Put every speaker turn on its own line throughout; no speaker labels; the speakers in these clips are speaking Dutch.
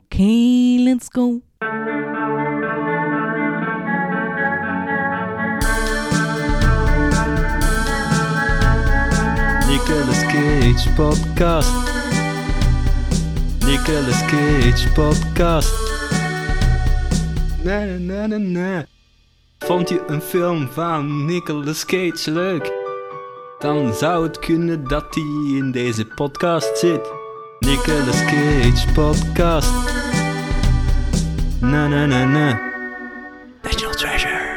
Okay, let's go.
Nicolas Cage podcast. Nicolas Cage podcast. Na na na na na. Vond je een film van Nicolas Cage leuk? Dan zou het kunnen dat hij in deze podcast zit. Nicolas Cage podcast. Na na na na. National Treasure.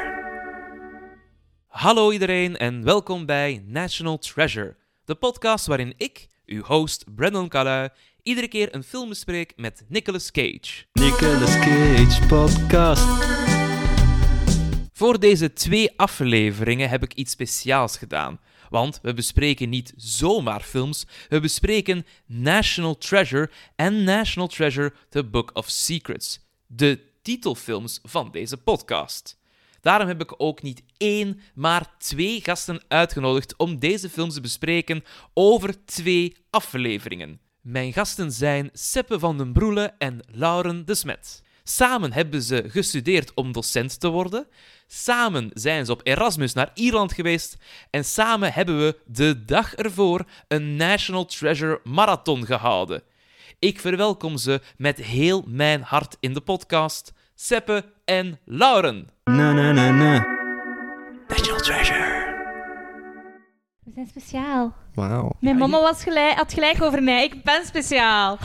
Hallo iedereen en welkom bij National Treasure, de podcast waarin ik, uw host Brandon Calui, iedere keer een film bespreek met Nicolas Cage.
Nicolas Cage podcast.
Voor deze twee afleveringen heb ik iets speciaals gedaan. Want we bespreken niet zomaar films, we bespreken National Treasure en National Treasure The Book of Secrets, de titelfilms van deze podcast. Daarom heb ik ook niet één, maar twee gasten uitgenodigd om deze films te bespreken over twee afleveringen. Mijn gasten zijn Seppe van den Broele en Lauren de Smet. Samen hebben ze gestudeerd om docent te worden. Samen zijn ze op Erasmus naar Ierland geweest. En samen hebben we de dag ervoor een National Treasure Marathon gehouden. Ik verwelkom ze met heel mijn hart in de podcast. Seppe en Lauren.
Na na na na. National Treasure.
We zijn speciaal.
Wauw.
Mijn mama was gelijk, had gelijk over mij. Ik ben speciaal.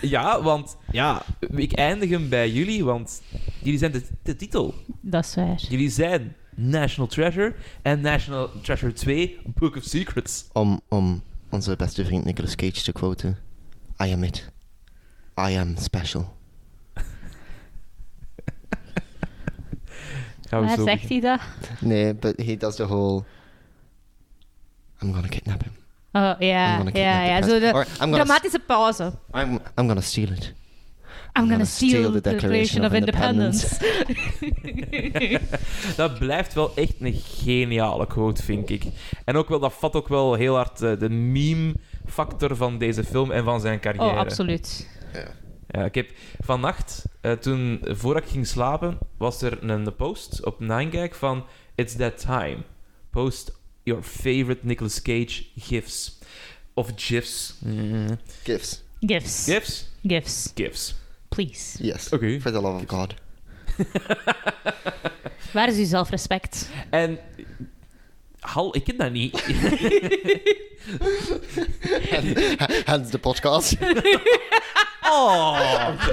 Ja, want ja, ik eindig hem bij jullie, want jullie zijn de, de titel.
Dat is waar.
Jullie zijn National Treasure en National Treasure 2, Book of Secrets.
Om, om onze beste vriend Nicolas Cage te quoten. I am it. I am special.
Gaan
Waar zegt
beginnen.
hij dat?
Nee, but he does the whole... I'm gonna kidnap him.
Oh,
I'm
ja,
gonna kidnap
ja,
the
ja.
prince.
Zo
Or
de
I'm gonna
dramatische pauze. I'm,
I'm, I'm gonna steal it.
gonna,
gonna
steal, the Declaration of, Independence.
Dat blijft wel echt een geniale quote, vind ik. En ook wel, dat vat ook wel heel hard eh, de meme-factor van deze film en van zijn carrière.
oh, absoluut.
Ja, ik heb vannacht, eh, toen, voor ik ging slapen, was er een post op Ninegag van It's That Time. Post your favorite Nicolas Cage gifs. Of gifs.
Gifts.
Gifts.
Gifs?
Gifts.
Gifs.
Please.
Yes.
Oké.
For the love of God.
Waar is uw zelfrespect?
En... Hal, ik ken dat niet.
Hence the podcast.
Oh.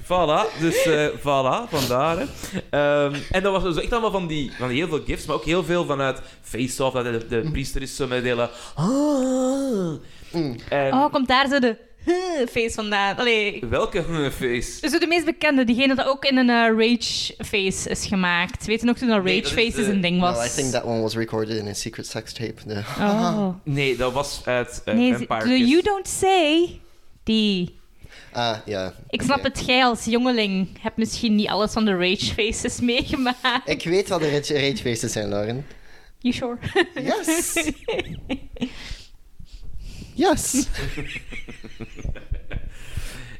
voilà, dus eh voilà, vandaar. Hè. Ehm, en dat was dus echt allemaal van die, van die heel veel gifts, maar ook heel veel vanuit Face-Off, dat de, de priester is zo met hele... "Ah." En
Oh, komt daar zo de huh, face vandaan. Allee,
welke hmm, face?
Zo de meest bekende, diegene dat ook in een eh, rage face is gemaakt. Weet je nog toen dat
Nee,
rage
dat is,
faces
eh,
een ding was?
No, I think that one was recorded in a secret sex tape. The
Ah.
Oh.
Nee, dat was uit eh,
Nee, ze-
Vampire
de
Kiss.
You Don't Say, die...
Ah, ja.
Ik snap
oké.
het, jij als jongeling hebt misschien niet alles van de rage faces meegemaakt.
Ik weet wat de rage, rage faces zijn, Lauren.
You sure?
Yes! Yes!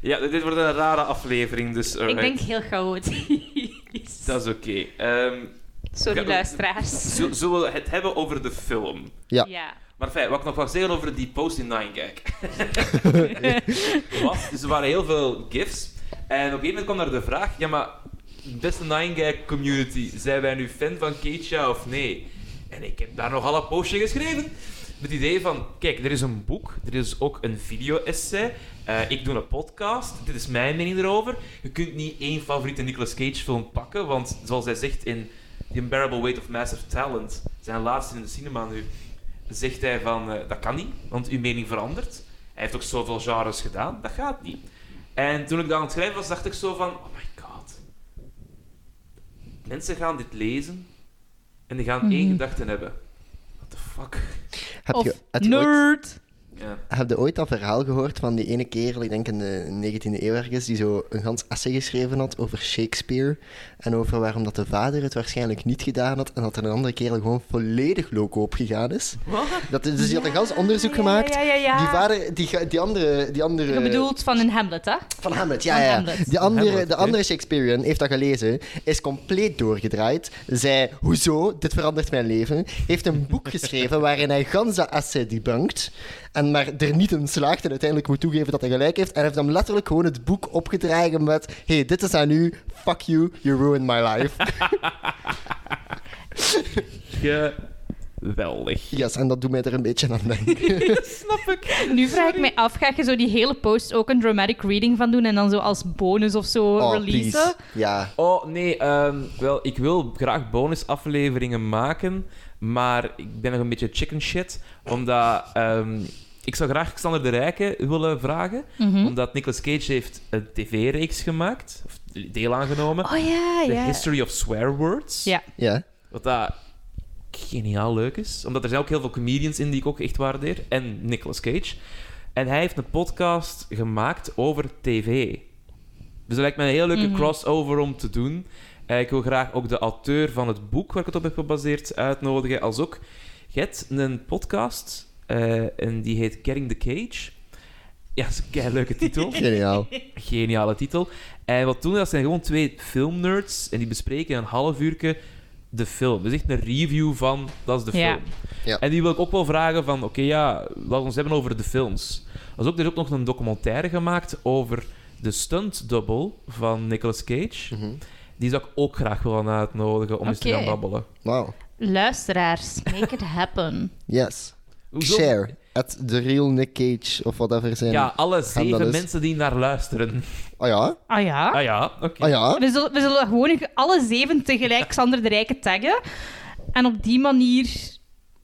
Ja, dit wordt een rare aflevering, dus...
Ik
alright.
denk heel chaotisch.
Dat is oké. Ehm,
Sorry,
Ja,
luisteraars.
zul- zullen we het hebben over de film?
Ja.
Ja.
Maar fijn, wat ik nog wou zeggen over die post in Ninegag. was, dus er waren heel veel gifs. En op een gegeven moment kwam daar de vraag, ja maar, beste Ninegag community, zijn wij nu fan van Keitja of nee? En ik heb daar nogal een postje geschreven. Met het idee van, kijk, er is een boek, er is ook een video-essay, eh, ik doe een podcast, dit is mijn mening erover. Je kunt niet één favoriete Nicolas Cage film pakken, want zoals hij zegt in The Unbearable Weight of Massive Talent, zijn laatste in de cinema nu, zegt hij van, eh, dat kan niet, want uw mening verandert. Hij heeft ook zoveel genres gedaan, dat gaat niet. En toen ik dat aan het schrijven was, dacht ik zo van, oh my god. Mensen gaan dit lezen en die gaan één
Mhm.
gedachte hebben. What the fuck?
Heb
Of
je het ooit-
nerd.
Ja.
Heb je ooit dat verhaal gehoord van die ene kerel, ik denk in de 19e eeuw ergens, die zo een gans essay geschreven had over Shakespeare en over waarom dat de vader het waarschijnlijk niet gedaan had en dat er een andere kerel gewoon volledig loco op gegaan is? Dat, is- dus die had een gans onderzoek
Ja,
gemaakt.
Ja, ja, ja.
Die vader, die, ga- die andere... Die andere
Je bedoelt van een Hamlet, hè?
Van Hamlet, ja,
Van
ja.
Hamlet.
Die andere,
Hamlet,
de
oké.
andere Shakespearean heeft dat gelezen, is compleet doorgedraaid, zei, hoezo, dit verandert mijn leven, heeft een boek geschreven waarin hij gans dat essay debunkt, en maar er niet in slaagt en uiteindelijk moet toegeven dat hij gelijk heeft, en heeft hem letterlijk gewoon het boek opgedragen met, hey, dit is aan u, fuck you, you ruined my life.
Geweldig.
yes, en dat doet mij er een beetje aan denken.
Nu vraag ik mij af, ga je zo die hele post ook een dramatic reading van doen en dan zo als bonus of zo
Oh,
releasen?
please. Ja.
Oh nee, ehm, wel, ik wil graag bonusafleveringen maken, maar ik ben nog een beetje chicken shit, omdat ehm, ik zou graag Xander de Rijken willen vragen,
Mhm.
omdat Nicolas Cage heeft een tv-reeks gemaakt, of deel aangenomen,
Oh ja,
The
ja.
History of Swear Words,
Ja.
Ja.
wat dat geniaal leuk is, omdat er zijn ook heel veel comedians in die ik ook echt waardeer, en Nicolas Cage. En hij heeft een podcast gemaakt over tv. Dus dat lijkt me een heel leuke
Mhm.
crossover om te doen. Eh, ik wil graag ook de auteur van het boek waar ik het op heb gebaseerd uitnodigen. Als ook, je hebt een podcast eh, en die heet Getting the Cage. Ja, dat is een keileuke titel.
Geniaal.
Geniale titel. En wat doen we? Dat zijn gewoon twee filmnerds en die bespreken in een half uurtje de film. Dus echt een review van, dat is de
Ja.
film.
Ja.
En die wil ik ook wel vragen van, oké ja, laten we ons hebben over de films. Er is ook, er is ook nog een documentaire gemaakt over de stunt double van Nicolas Cage.
Mhm.
Die zou ik ook graag willen uitnodigen om eens te
Oké.
gaan babbelen.
Wauw.
Luisteraars, make it happen.
Yes.
Hoezo?
Share. At the real Nick Cage, of whatever zijn.
Ja, alle zeven
eens.
mensen die naar luisteren.
Oh ja?
Ah ja?
Ah ja, oké.
Oh ja?
We, zullen, we zullen gewoon alle zeven tegelijk Xander de Rijke taggen. En op die manier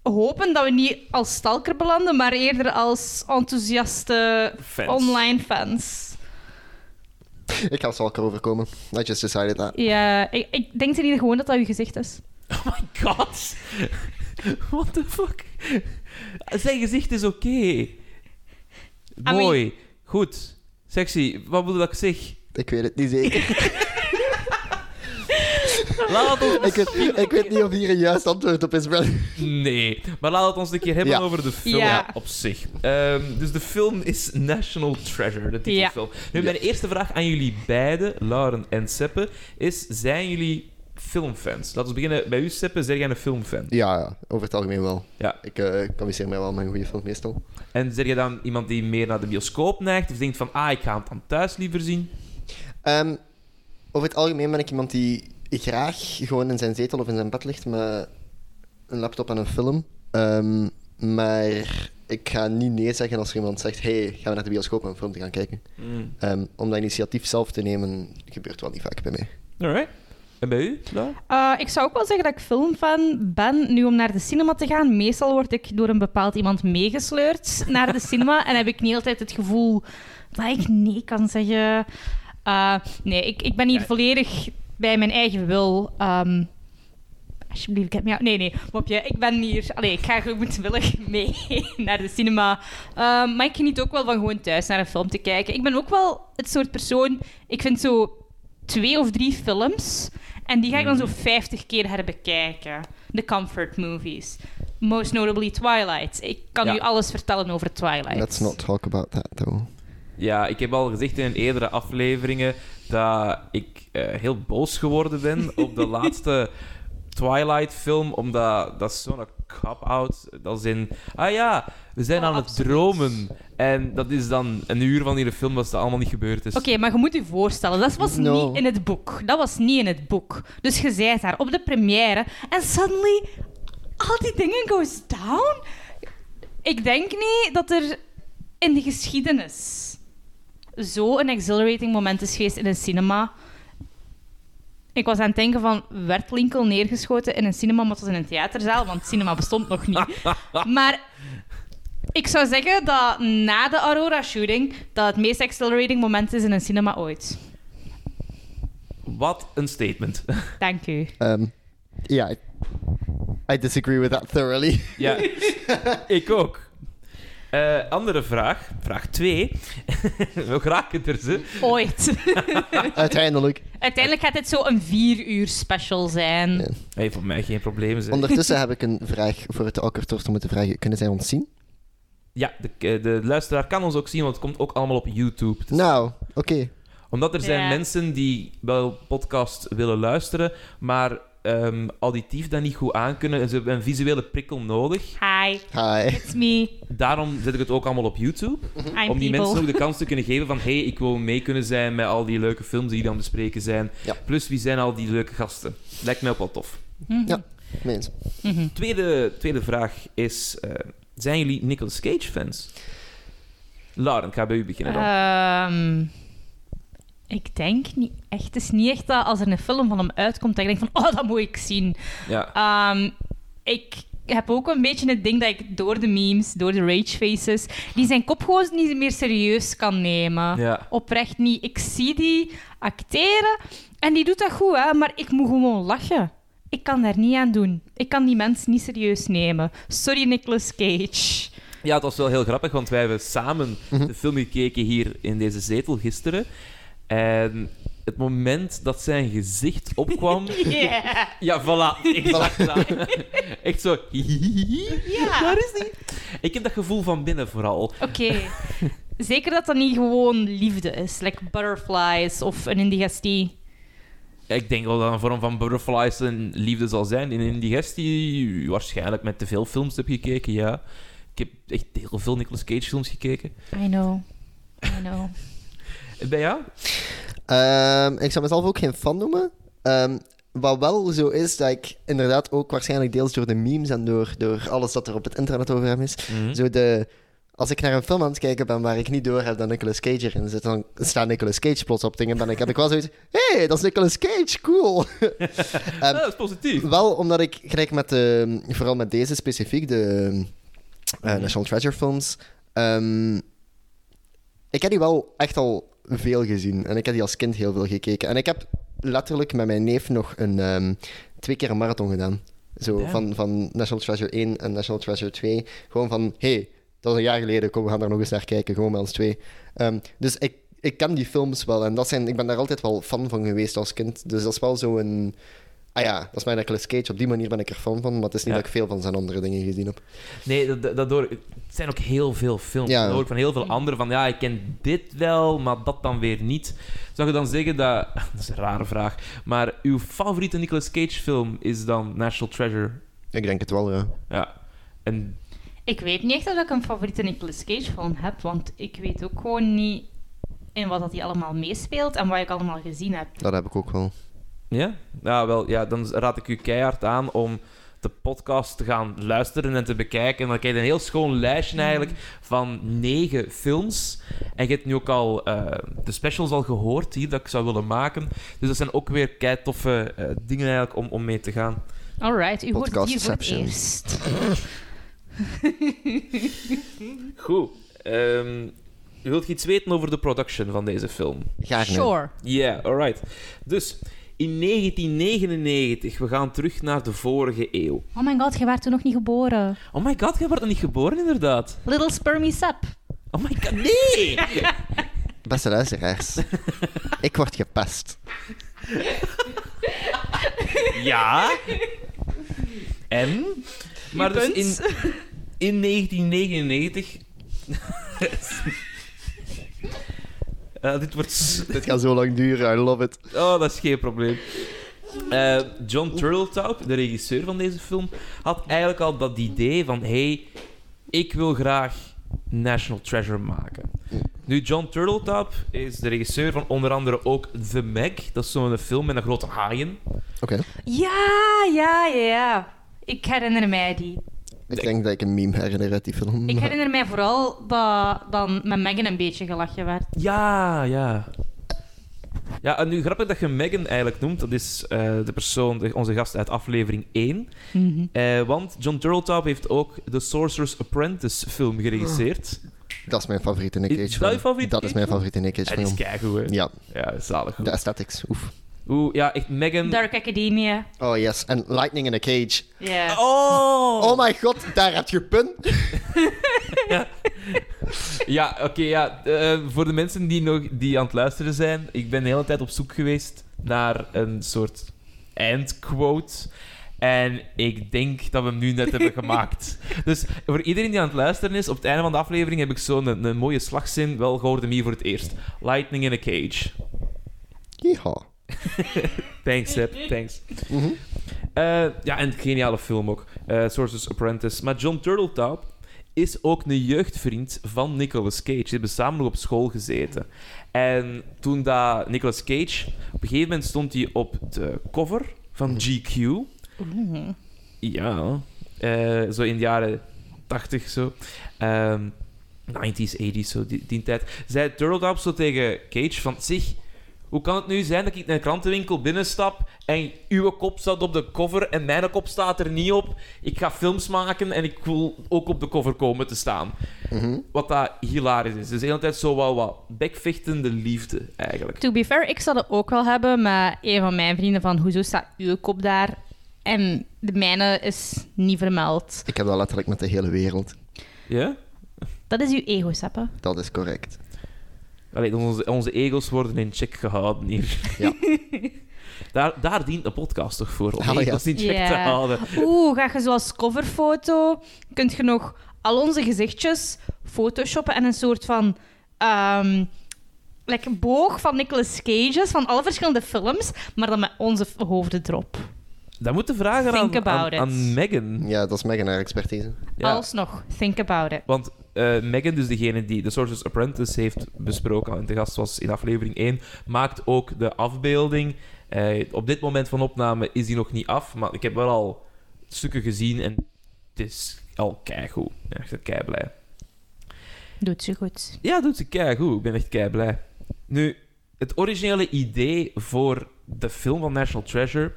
hopen dat we niet als stalker belanden, maar eerder als enthousiaste
Fans.
online fans.
Ik ga Salker overkomen. I just decided that.
Ja, ik, ik denk ten ieder gewoon dat dat uw gezicht is.
Oh my god. What the fuck? Zijn gezicht is oké. Mooi. Goed. Sexy. Wat bedoel dat ik zeg?
Ik weet het niet zeker.
Laat ons...
ik, weet, ik weet niet of hier een juist antwoord op is, brother.
Nee. Maar laat het ons een keer hebben
Ja.
over de film
Ja.
op zich. Ehm, dus de film is National Treasure, de titelfilm. Nu, mijn eerste vraag aan jullie beiden, Lauren en Seppe, is... Zijn jullie filmfans? Laten we beginnen bij u, Seppe. Zijn jij een filmfan?
Ja, ja, over het algemeen wel.
Ja.
Ik eh communiceer mij wel met een goede film meestal.
En zeg je dan iemand die meer naar de bioscoop neigt? Of denkt van, ah, ik ga hem dan thuis liever zien?
Ehm, over het algemeen ben ik iemand die graag gewoon in zijn zetel of in zijn bed ligt met een laptop en een film. Ehm, maar ik ga niet nee zeggen als er iemand zegt: hey, gaan we naar de bioscoop om een film te gaan kijken?
Mm.
Ehm, om dat initiatief zelf te nemen, gebeurt wel niet vaak bij mij.
Alright. En bij u? Lau?
Eh, ik zou ook wel zeggen dat ik filmfan ben. Nu om naar de cinema te gaan, meestal word ik door een bepaald iemand meegesleurd naar de cinema. En heb ik niet altijd het gevoel dat ik nee kan zeggen. Eh, nee, ik, ik ben hier
Ja.
volledig bij mijn eigen wil. Ehm, alsjeblieft, get me out. Nee, nee, mopje. Ik ben hier... Allee, ik ga goedwillig mee naar de cinema. Ehm, maar ik geniet ook wel van gewoon thuis naar een film te kijken. Ik ben ook wel het soort persoon... Ik vind zo twee of drie films... En die ga ik dan zo 50 keer herbekijken. De comfort movies. Most notably Twilight. Ik kan
Ja.
u alles vertellen over Twilight.
Let's not talk about that, though.
Ja, ik heb al gezegd in een eerdere afleveringen dat ik eh, heel boos geworden ben op de laatste Twilight-film, omdat dat is zo'n cop-out. Dat is in, ah ja, we zijn
Oh,
aan het
absoluut.
dromen. En dat is dan een uur van die film dat dat allemaal niet gebeurd is.
Oké, maar je moet je voorstellen, dat was
No.
niet in het boek. Dat was niet in het boek. Dus je zijt daar op de première en suddenly al die dingen goes down. Ik denk niet dat er in de geschiedenis zo'n exhilarating moment is geweest in een cinema. Ik was aan het denken van, werd Lincoln neergeschoten in een cinema, maar het was in een theaterzaal, want cinema bestond nog niet. Maar ik zou zeggen dat na de Aurora-shooting dat het meest accelerating moment is in een cinema ooit.
Wat een statement.
Dank u.
Ehm, ja, ik- I disagree with that thoroughly.
ja, ik ook. Eh, andere vraag, vraag 2. We raken er ze.
Ooit.
Uiteindelijk.
Uiteindelijk gaat dit zo een vier uur special zijn.
Ja.
Hey, voor mij geen probleem. Zeg.
Ondertussen heb ik een vraag voor het Alkertorst om te vragen. Kunnen zij ons zien?
Ja, de, eh, de luisteraar kan ons ook zien, want het komt ook allemaal op YouTube. Dus-
Nou, oké.
Omdat er zijn
Ja.
mensen die wel podcast willen luisteren, maar ehm, auditief dat niet goed aankunnen. En ze hebben een visuele prikkel nodig.
Hi,
Hi.
it's me.
Daarom zet ik het ook allemaal op YouTube.
I'm
Mhm. om die
people.
mensen ook de kans te kunnen geven van... hey, ik wil mee kunnen zijn met al die leuke films die hier aan het bespreken zijn.
Ja.
Plus, wie zijn al die leuke gasten? Lijkt mij ook wel tof.
Mhm.
Ja. Mens.
Mhm.
Tweede, tweede vraag is... eh, zijn jullie Nicolas Cage-fans? Lauren, ik ga bij u beginnen dan.
Ehm, ik denk niet echt. Het is niet echt dat als er een film van hem uitkomt, dat ik denk van, oh, dat moet ik zien.
ja.
Ehm, ik heb ook een beetje het ding dat ik door de memes, door de rage faces, die zijn kop gewoon niet meer serieus kan nemen.
ja.
Oprecht niet. Ik zie die acteren en die doet dat goed, hè, maar ik moet gewoon lachen. Ik kan daar niet aan doen. Ik kan die mensen niet serieus nemen. Sorry, Nicolas Cage.
Ja, het was wel heel grappig, want wij hebben samen de film gekeken hier in deze zetel gisteren. En het moment dat zijn gezicht opkwam...
Yeah.
ja, voilà, exact dat. Echt zo...
Ja.
Daar is die. Ik heb dat gevoel van binnen vooral.
Oké. Zeker dat dat niet gewoon liefde is, like butterflies of een indigestie.
Ik denk wel dat een vorm van butterflies en liefde zal zijn. In indigestie, waarschijnlijk met te veel films heb gekeken, ja. Ik heb echt heel veel Nicolas Cage films gekeken. Eh,
I know. I know.
Bij jou?
Ehm, ik zou mezelf ook geen fan noemen. Ehm, wat wel zo is, dat ik inderdaad ook waarschijnlijk deels door de memes en door, door alles dat er op het internet over hem is, zo de, als ik naar een film aan het kijken ben waar ik niet door heb dat Nicolas Cage erin zit, dan staat Nicolas Cage plots op dingen. Dan heb ik wel zoiets hé, hey, dat is Nicolas Cage, cool. Ehm,
Ah, dat is positief.
Wel, omdat ik gelijk met de, vooral met deze specifiek, de eh, National Treasure films, ehm, ik heb die wel echt al veel gezien. En ik heb die als kind heel veel gekeken. En ik heb letterlijk met mijn neef nog een, ehm, twee keer een marathon gedaan. Zo
Damn.
van, van National Treasure 1 en National Treasure 2. Gewoon van, hé, hey, dat is een jaar geleden, kom, we gaan daar nog eens naar kijken, gewoon met ons twee. Ehm, dus ik, ik ken die films wel en dat zijn, ik ben daar altijd wel fan van geweest als kind. Dus dat is wel zo'n... Ah ja, dat is mijn Nicolas Cage. Op die manier ben ik er fan van, maar het is niet
Ja.
dat ik veel van zijn andere dingen gezien heb.
Nee, dat- dat, dat hoor, het zijn ook heel veel films.
Ja.
Dat hoor ik van heel veel anderen van, ja, ik ken dit wel, maar dat dan weer niet. Zou je dan zeggen dat... Dat is een rare vraag. Maar uw favoriete Nicolas Cage film is dan National Treasure.
Ik denk het wel, ja.
Ja. En
Ik weet niet echt of ik een favoriete Nicolas Cage film heb, want ik weet ook gewoon niet in wat dat hij allemaal meespeelt en wat ik allemaal gezien heb.
Dat heb ik ook wel.
ja? Ja, wel, ja, dan raad ik u keihard aan om de podcast te gaan luisteren en te bekijken. En dan krijg je een heel schoon lijstje eigenlijk van negen films. En je hebt nu ook al eh, de specials al gehoord hier dat ik zou willen maken. Dus dat zijn ook weer kei toffe eh, dingen eigenlijk om, om mee te gaan.
Alright, u hoort het hier voor het
Podcastception.
eerst.
Goed. Ehm wilt je iets weten over de production van deze film?
Graag nee.
Sure.
Ja, alright. Dus, in 1999, we gaan terug naar de vorige eeuw.
Oh my god, je werd toen nog niet geboren.
Oh my god, jij wordt nog niet geboren inderdaad.
Little Spermy Sup.
Oh my god, nee!
Beste luisteraars, ik word gepest.
ja. En? Maar dus in, in 1999... Eh, dit wordt... s-
Dit gaat zo lang duren, I love it.
Oh, dat is geen probleem. Eh, John Turteltaub, de regisseur van deze film, had eigenlijk al dat idee van... hey, ik wil graag National Treasure maken. Nu, John Turteltaub is de regisseur van onder andere ook The Meg. Dat is zo'n film met een grote haaien.
Oké,
Ja, ja, ja, ja. Ik herinner mij die.
ik denk dat ik een meme herinner uit die film.
Ik herinner mij vooral dat dan met Megan een beetje gelachen werd.
Ja, ja. Ja, en nu grappig dat je Megan eigenlijk noemt. Dat is eh, de persoon, de- onze gast uit aflevering 1.
Mm-hmm.
Eh, want John Turteltaub heeft ook de Sorcerer's Apprentice film geregisseerd.
Dat is mijn favoriete Nick
Is
Cage
dat
film.
je favoriete
Dat is mijn favoriete Nick Cage
En die Ah, is
film.
keigoed, hè?
Ja,
Ja, dat is zalig.
de aesthetics, oef.
Oeh, ja, echt Megan...
Dark Academia.
Oh yes, en Lightning in a Cage.
Ja.
Oh!
Oh my god, daar heb je punt.
Ja, oké, ja. eh, voor de mensen die, nog, die aan het luisteren zijn, ik ben de hele tijd op zoek geweest naar een soort eindquote. En ik denk dat we hem nu net hebben gemaakt. Dus voor iedereen die aan het luisteren is, op het einde van de aflevering heb ik zo'n een, een mooie slagzin wel gehoord hem hier voor het eerst. Lightning in a cage.
Yeehaw.
Thanks, Seb. Thanks.
Mhm.
Eh, ja, en geniale film ook. Eh Sources Apprentice. Maar John Turteltaub is ook een jeugdvriend van Nicolas Cage. Die hebben samen nog op school gezeten. En toen dat Nicolas Cage... Op een gegeven moment stond hij op de cover van GQ. Ja. eh, zo in de jaren 80 zo. Ehm, 90s, 80s, zo die, die tijd. Zei Turtledop zo tegen Cage van... Zeg, hoe kan het nu zijn dat ik in een krantenwinkel binnenstap en uw kop staat op de cover en mijn kop staat er niet op? Ik ga films maken en ik wil ook op de cover komen te staan. Wat dat hilarisch is. Dus de hele tijd zo wel wat bekvechtende liefde, eigenlijk.
To be fair, ik zal het ook wel hebben, maar een van mijn vrienden van hoezo staat uw kop daar? En de mijne is niet vermeld.
Ik heb dat letterlijk met de hele wereld.
Ja?
Dat is uw ego, Seppe.
Dat is correct.
Allee, onze, onze egels worden in check gehouden hier.
Ja.
daar, daar dient de podcast toch voor, om
Ah, ja.
egels in check te
Ja.
houden.
Oeh, ga je zoals coverfoto, kunt je nog al onze gezichtjes photoshoppen en een soort van ehm, like, boog van Nicolas Cage's van alle verschillende films, maar dan met onze f- hoofden erop.
Dat moet de vragen
Think
aan, aan,
about it.
aan Megan.
Ja, dat is mega naar expertise.
Ja.
Alsnog, think about it.
Want eh, Megan, dus degene die The Sources Apprentice heeft besproken en te gast was in aflevering 1, maakt ook de afbeelding. Eh, op dit moment van opname is die nog niet af, maar ik heb wel al stukken gezien en het is al keigoed. Ik ben echt kei blij.
Doet ze goed.
Ja, doet ze keigoed. Ik ben echt kei blij. Nu, het originele idee voor de film van National Treasure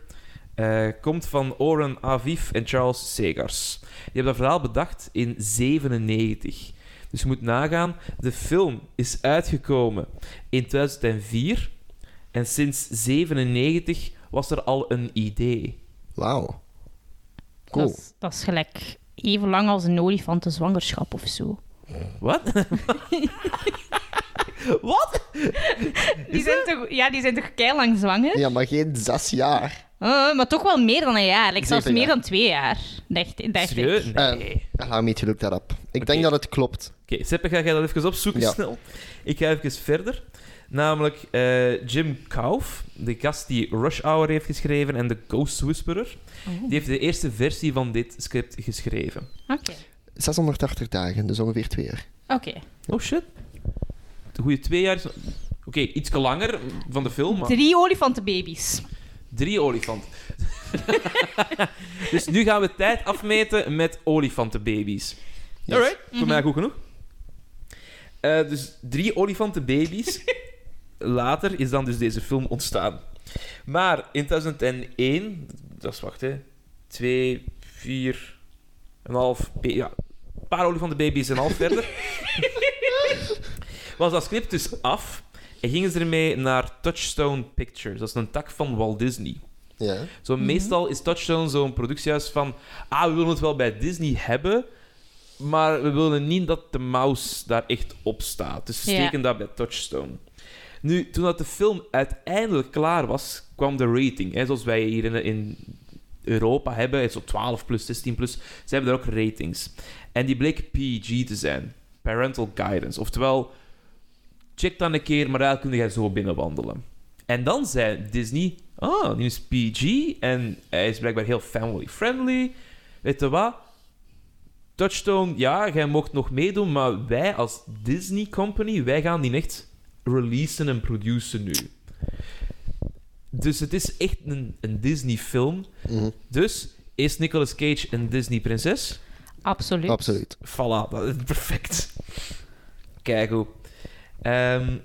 eh, komt van Oren Aviv en Charles Segars. Die hebben dat verhaal bedacht in 97. Dus je moet nagaan, de film is uitgekomen in 2004 en sinds 97 was er al een idee.
Wauw. Cool.
Dat, is, dat is gelijk even lang als een olifantenzwangerschap of zo.
Wat? Wat?
Die zijn toch, ja, die zijn toch keilang zwanger?
Ja, maar geen zes jaar.
Eh, maar toch wel meer dan een jaar. Like, zelfs
Zeven
meer
jaar.
dan twee jaar, dacht, dacht ik.
Serieus? Nee.
Eh, Allow me to look that up. Ik
Oké.
denk dat het klopt.
Oké, Seppe, ga jij dat even opzoeken
Ja.
snel? Ik ga even verder. Namelijk eh, Jim Kauf, de gast die Rush Hour heeft geschreven en The Ghost Whisperer. Die heeft de eerste versie van dit script geschreven.
Oké.
680 dagen, dus ongeveer twee jaar.
Oké.
Oh shit. De goede twee jaar. is- Oké, iets langer van de film, maar
Drie olifantenbabies.
drie olifanten. dus nu gaan we tijd afmeten met olifantenbabies.
Yes.
Alright, voor mij goed genoeg. Eh, dus drie olifantenbaby's. Later is dan dus deze film ontstaan. Maar in 2001, dat is wacht hè, twee, vier, een half, be- ja, een paar olifantenbaby's en een half verder, was dat script dus af en gingen ze ermee naar Touchstone Pictures. Dat is een tak van Walt Disney.
Ja.
Zo, Meestal is Touchstone zo'n productiehuis van... Ah, we willen het wel bij Disney hebben, maar we willen niet dat de mouse daar echt op staat. Dus we
Ja.
steken dat bij Touchstone. Nu, toen dat de film uiteindelijk klaar was, kwam de rating. Hè, zoals wij hier in, in Europa hebben, zo 12 plus, 16 plus. Ze hebben daar ook ratings. En die bleek PG te zijn. Parental Guidance. Oftewel, check dan een keer, maar daar kun je zo binnenwandelen. En dan zei Disney, ah, die is PG en hij is blijkbaar heel family-friendly. Weet je wat? Touchstone, ja, jij mocht nog meedoen, maar wij als Disney Company, wij gaan die echt releasen en produceren nu. Dus het is echt een, een Disney-film.
Mhm.
Dus is Nicolas Cage een Disney-prinses?
Absoluut.
Absoluut.
Voilà, dat is perfect. Kijk hoe. Ehm,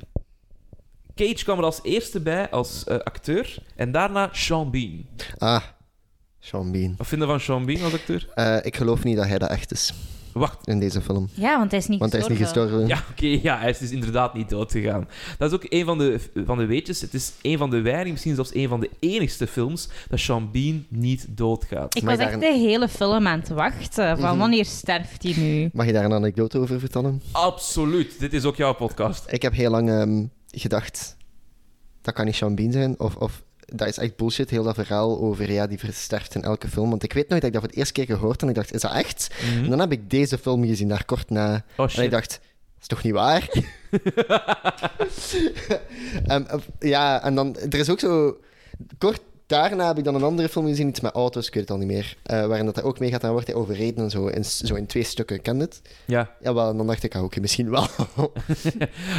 Cage kwam er als eerste bij als eh, acteur en daarna Sean Bean.
Ah, Sean Bean.
Wat vinden we van Sean Bean als acteur?
Eh, ik geloof niet dat hij dat echt is.
Wacht.
in deze film.
Ja, want hij is niet
Want hij is niet gestorven.
Ja, oké, ja, hij is dus inderdaad niet dood gegaan. Dat is ook een van de, van de weetjes. Het is een van de weinige, misschien zelfs een van de enigste films dat Sean Bean niet doodgaat.
Ik
Maar
was echt de
daar-
hele film aan het wachten. Van
Mhm.
wanneer sterft hij nu?
Mag je daar een anekdote over vertellen?
Absoluut. Dit is ook jouw podcast.
Ik heb heel lang ehm, gedacht, dat kan niet Sean Bean zijn. Of, of dat is echt bullshit, heel dat verhaal over ja, die versterft in elke film. Want ik weet nooit dat ik dat voor het eerste keer gehoord en ik dacht, is dat echt? En dan heb ik deze film gezien, daar kort na.
Mm-hmm. Oh
En ik
Hm? shit.
dacht, dat is toch niet waar? Ehm, eh, ja, en dan, er is ook zo... Kort daarna heb ik dan een andere film gezien, iets met auto's, ik weet het al niet meer. eh, waarin dat hij ook meegaat, dan wordt hij overreden en zo. In, s- zo in twee stukken, ken je het?
Ja.
Jawel, en dan dacht ik, ah, oké, misschien wel.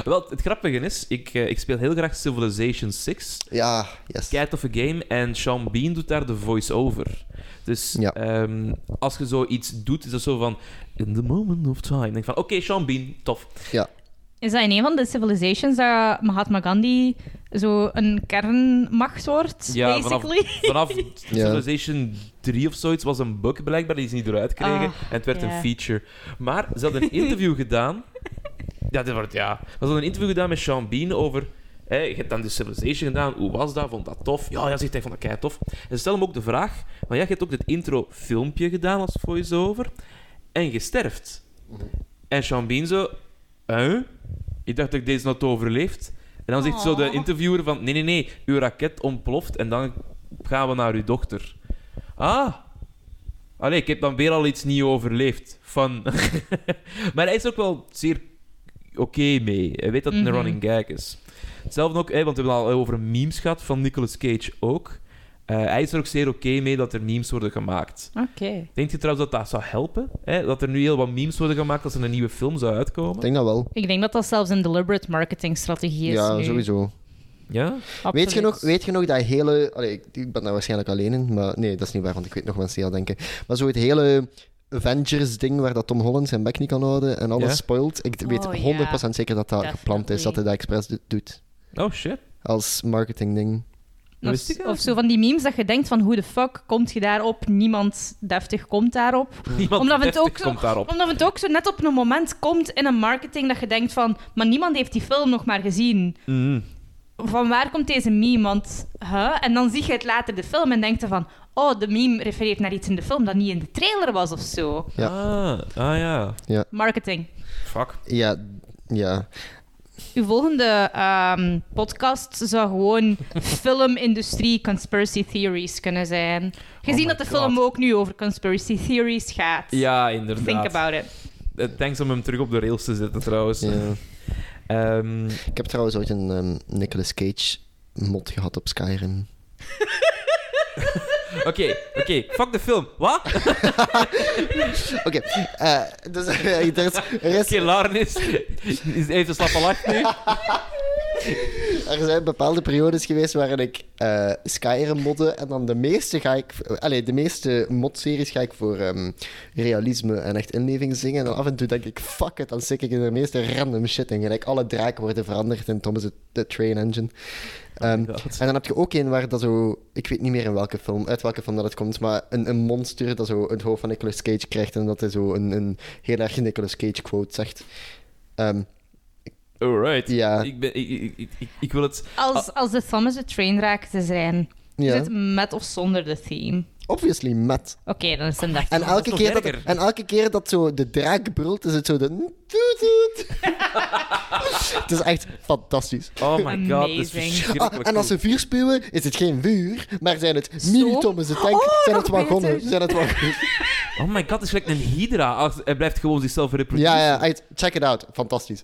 Wel, het grappige is, ik, eh, ik speel heel graag Civilization 6.
ja, yes.
Kei toffe game. En Sean Bean doet daar de voice-over. Dus
Ja.
ehm, als je zoiets doet, is dat zo van... In the moment of time. Dan denk ik van, oké, Sean Bean, tof.
Is dat in een van de civilizations dat Mahatma Gandhi zo een kernmacht wordt,
Ja, vanaf-
basically?
Vanaf Civilization 3 of zoiets was een bug blijkbaar, die ze niet eruit kregen.
Ah,
en het werd
ja.
een feature. Maar ze hadden een interview gedaan. Ja, dit wordt ja. Ze hadden een interview gedaan met Sean Bean over. Hé, je hebt dan de Civilization gedaan, hoe was dat? Vond dat tof? Ja, ja, zegt hij, vond dat kei tof. En ze stellen hem ook de vraag: van ja, je hebt ook dit intro-filmpje gedaan als voice-over en je sterft. En Sean Bean zo, huh? Ik dacht dat ik deze had overleefd. En dan zegt zo de
Aw.
interviewer van, nee, nee, nee, uw raket ontploft en dan gaan we naar uw dochter. Ah. Allee, ik heb dan weer al iets niet overleefd. Van. maar hij is ook wel zeer oké mee. Hij weet dat het
Mhm.
een running gag is. Hetzelfde ook, hè, want we hebben al over memes gehad van Nicolas Cage ook. Eh, hij is er ook zeer oké mee dat er memes worden gemaakt.
Oké.
Denkt je trouwens dat dat zou helpen? Hè? Dat er nu heel wat memes worden gemaakt als er een nieuwe film zou
Ik
uitkomen?
denk dat wel.
Ik denk dat dat zelfs een deliberate marketingstrategie is
ja,
nu.
sowieso.
Ja?
Absoluut.
Weet je, nog, weet je nog dat hele... Allee, ik, ik ben daar waarschijnlijk alleen in, maar nee, dat is niet waar, want ik weet nog mensen die dat denken. Maar zo het hele Avengers-ding waar dat Tom Holland zijn bek niet kan houden en alles
Ja.
spoilt. Ik weet
Oh,
100%
ja.
zeker dat dat gepland is, dat hij dat expres do- doet.
Oh shit.
Als marketingding.
Dat
Of,
wist ik
of zo van die memes dat je denkt van hoe de fuck komt je daarop? Niemand deftig komt daarop.
Niemand
Omdat we het
deftig
ook zo-
komt daarop.
Omdat het ook zo net op een moment komt in een marketing dat je denkt van, maar niemand heeft die film nog maar gezien.
Mhm.
Van waar komt deze meme? Want, huh? En dan zie je het later de film en denkt er van, oh, de meme refereert naar iets in de film dat niet in de trailer was of zo.
Ja.
Ah, ah ja.
Marketing.
Fuck.
Ja, ja.
Uw volgende ehm, podcast zou gewoon filmindustrie conspiracy theories kunnen zijn.
my
Gezien dat de
God.
film ook nu over conspiracy theories gaat.
Ja,
Think
inderdaad.
about it.
Eh, Thanks om hem terug op de rails te zetten trouwens.
ja.
Ehm,
Ik heb trouwens ooit een ehm, Nicolas Cage mod gehad op Skyrim.
Oké, oké. Fuck de film. Wat? Oké,
Oké, eh, dus, er is, er is
Laren is, is even slappe lach nu.
Er zijn bepaalde periodes geweest waarin ik eh, Skyrim modde. En dan de meeste ga ik. Allee, de meeste modseries ga ik voor ehm, realisme en echt inleving zingen. En dan af en toe denk ik, fuck it, dan stik ik in de meeste random shit in. Gelijk alle draken worden veranderd in Thomas de, de Train Engine. Ehm,
God.
en dan heb je ook een waar dat zo. Ik weet niet meer in welke film, uit welke film dat het komt. Maar een, een monster dat zo het hoofd van Nicolas Cage krijgt. En dat hij zo een, een heel erg Nicolas Cage quote zegt. Ehm,
Alright.
Ja.
Ik, ben, ik, ik, ik- ik, ik wil het...
Als, als de Thomas de Train raakt te zijn,
ja,
is het met of zonder de theme?
obviously met.
Oké, dan is het een
En elke,
nog
keer dat,
erger.
en elke keer dat zo de draak brult, is het zo de... toet, toet. het is echt fantastisch.
Oh my god, dat is
Amazing.
Ah,
verschrikkelijk
en als
cool.
ze vuur spuwen, is het geen vuur, maar zijn het
Stoom?
mini-tommen. Ze tank,
Oh,
zijn
nog
het wagonnen.
beter.
Zijn het wagonnen.
Oh my god, het is gelijk een hydra. Als- Hij blijft gewoon zichzelf reproduceren.
ja, ja, echt, check it out. Fantastisch.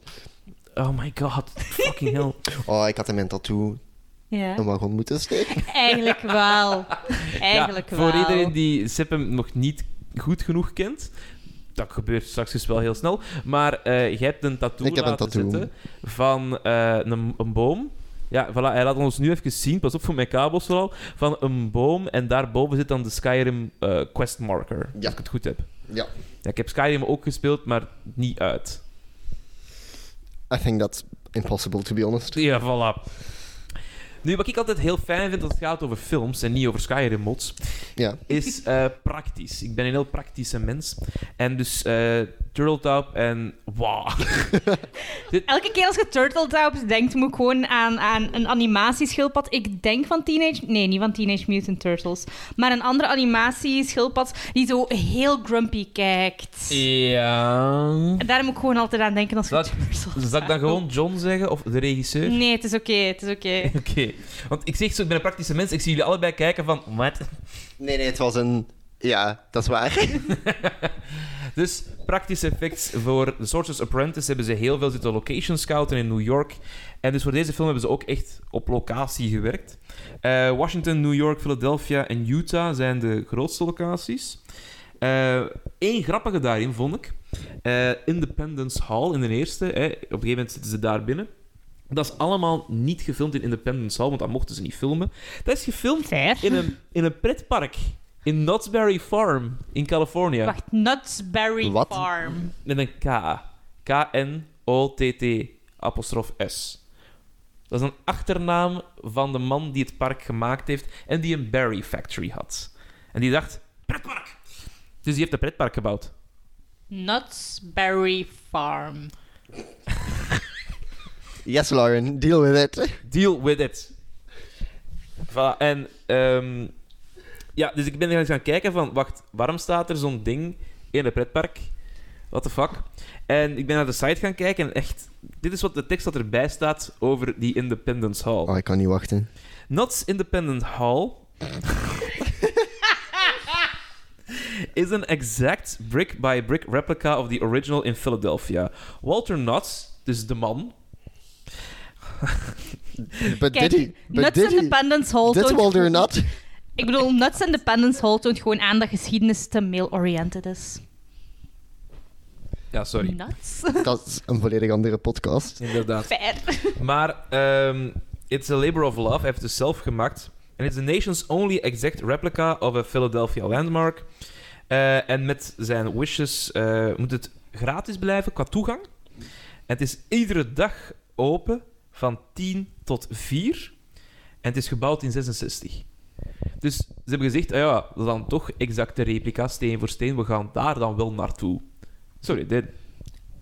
Oh my god, fucking hell.
Oh, ik had in mijn tattoo een
Ja,
wagon moeten steken.
eigenlijk wel. Eigenlijk
Ja,
wel.
Voor iedereen die Sippem nog niet goed genoeg kent... Dat gebeurt straks dus wel heel snel. Maar eh jij hebt een tattoo
Ik heb een
laten
tattoo.
zitten van eh, een, een boom. Ja, voilà, hij laat ons nu even zien, pas op voor mijn kabels vooral, van een boom en daarboven zit dan de Skyrim eh, quest marker,
Ja.
als ik het goed heb.
Ja.
Ja, ik heb Skyrim ook gespeeld, maar niet uit.
I think that's impossible, to be honest.
Ja, voilà. Nu, wat ik altijd heel fijn vind als het gaat over films en niet over Skyrim mods,
Ja.
is eh, praktisch. Ik ben een heel praktische mens. En dus eh Turtletop en... Wow.
Elke keer als je Turtletaubs denkt, moet ik gewoon aan, aan een animatieschildpad. Ik denk van Teenage... Nee, niet van Teenage Mutant Turtles. Maar een andere animatieschildpad die zo heel grumpy kijkt.
Ja...
En daar moet ik gewoon altijd aan denken als je
Dat-
Turtles
Zal ik dan gewoon John zeggen? Of de regisseur?
Nee, het is oké, het is oké.
Oké. Want ik zeg zo, ik ben een praktische mens. Ik zie jullie allebei kijken van... Wat?
Nee, nee, het was een... Ja, dat is waar.
Dus praktische effects voor The Sorcerer's Apprentice hebben ze heel veel zitten location scouten in New York. En dus voor deze film hebben ze ook echt op locatie gewerkt. Eh, Washington, New York, Philadelphia en Utah zijn de grootste locaties. Eén grappige daarin vond ik. eh, Independence Hall in de eerste. Hè, op een gegeven moment zitten ze daar binnen. Dat is allemaal niet gefilmd in Independence Hall, want dat mochten ze niet filmen. Dat is gefilmd
Fair.
in een, in een pretpark. In Knott's Berry Farm in Californië.
Wacht, Nutsberry
Wat?
Farm.
Met een K. K-N-O-T-T apostrof S. Dat is een achternaam van de man die het park gemaakt heeft en die een Berry Factory had. En die dacht, pretpark! Dus die heeft een pretpark gebouwd.
Nutsberry Farm.
Yes, Lauren, deal with it.
Deal with it. Voilà, en ehm, ja, dus ik ben eens gaan kijken van, wacht, waarom staat er zo'n ding in een pretpark? What the fuck? En ik ben naar de site gaan kijken en echt, dit is wat de tekst dat erbij staat over die Independence Hall.
Oh, ik kan niet wachten.
Knott's Independent Hall is an exact brick by brick replica of the original in Philadelphia. Walter Knotts, dus de man.
But
Kijk,
did he? But
Nuts
did he?
Independence Hall
Did
toont-
Walter not?
Ik bedoel, Nuts Independence Hall toont gewoon aan dat geschiedenis te male-oriented is.
Ja, sorry.
Nuts?
Dat is een volledig andere podcast.
Inderdaad.
Fair.
Maar ehm, it's a labor of love. Hij heeft het dus zelf gemaakt. En it's the nation's only exact replica of a Philadelphia landmark. Eh, en met zijn wishes eh, moet het gratis blijven qua toegang. En het is iedere dag open van 10 tot 4. En het is gebouwd in 66. Dus ze hebben gezegd, ah ja, dat is dan toch exacte replica, steen voor steen. We gaan daar dan wel naartoe. Sorry, dit,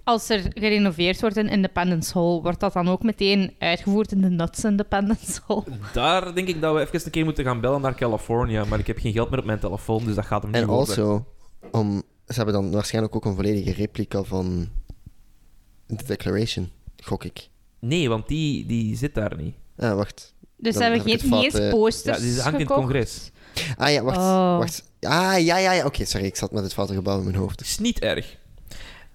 Als er gerenoveerd wordt in Independence Hall, wordt dat dan ook meteen uitgevoerd in de Nuts Independence Hall?
Daar denk ik dat we even een keer moeten gaan bellen naar California, maar ik heb geen geld meer op mijn telefoon, dus dat gaat hem niet
En
worden.
also, om, ze hebben dan waarschijnlijk ook een volledige replica van de Declaration, gok ik.
Nee, want die, die zit daar niet.
Ah, wacht.
Dus
Dan
ze hebben
heb ik
geen,
het
niet
fout,
eens
eh.
Ja,
posters
die hangt in het
gekocht.
congres.
Ah ja, wacht.
Oh.
wacht. Ah, ja, ja, ja. Oké, sorry, ik zat met het foute gebouw in mijn hoofd. Dus
Het is niet erg.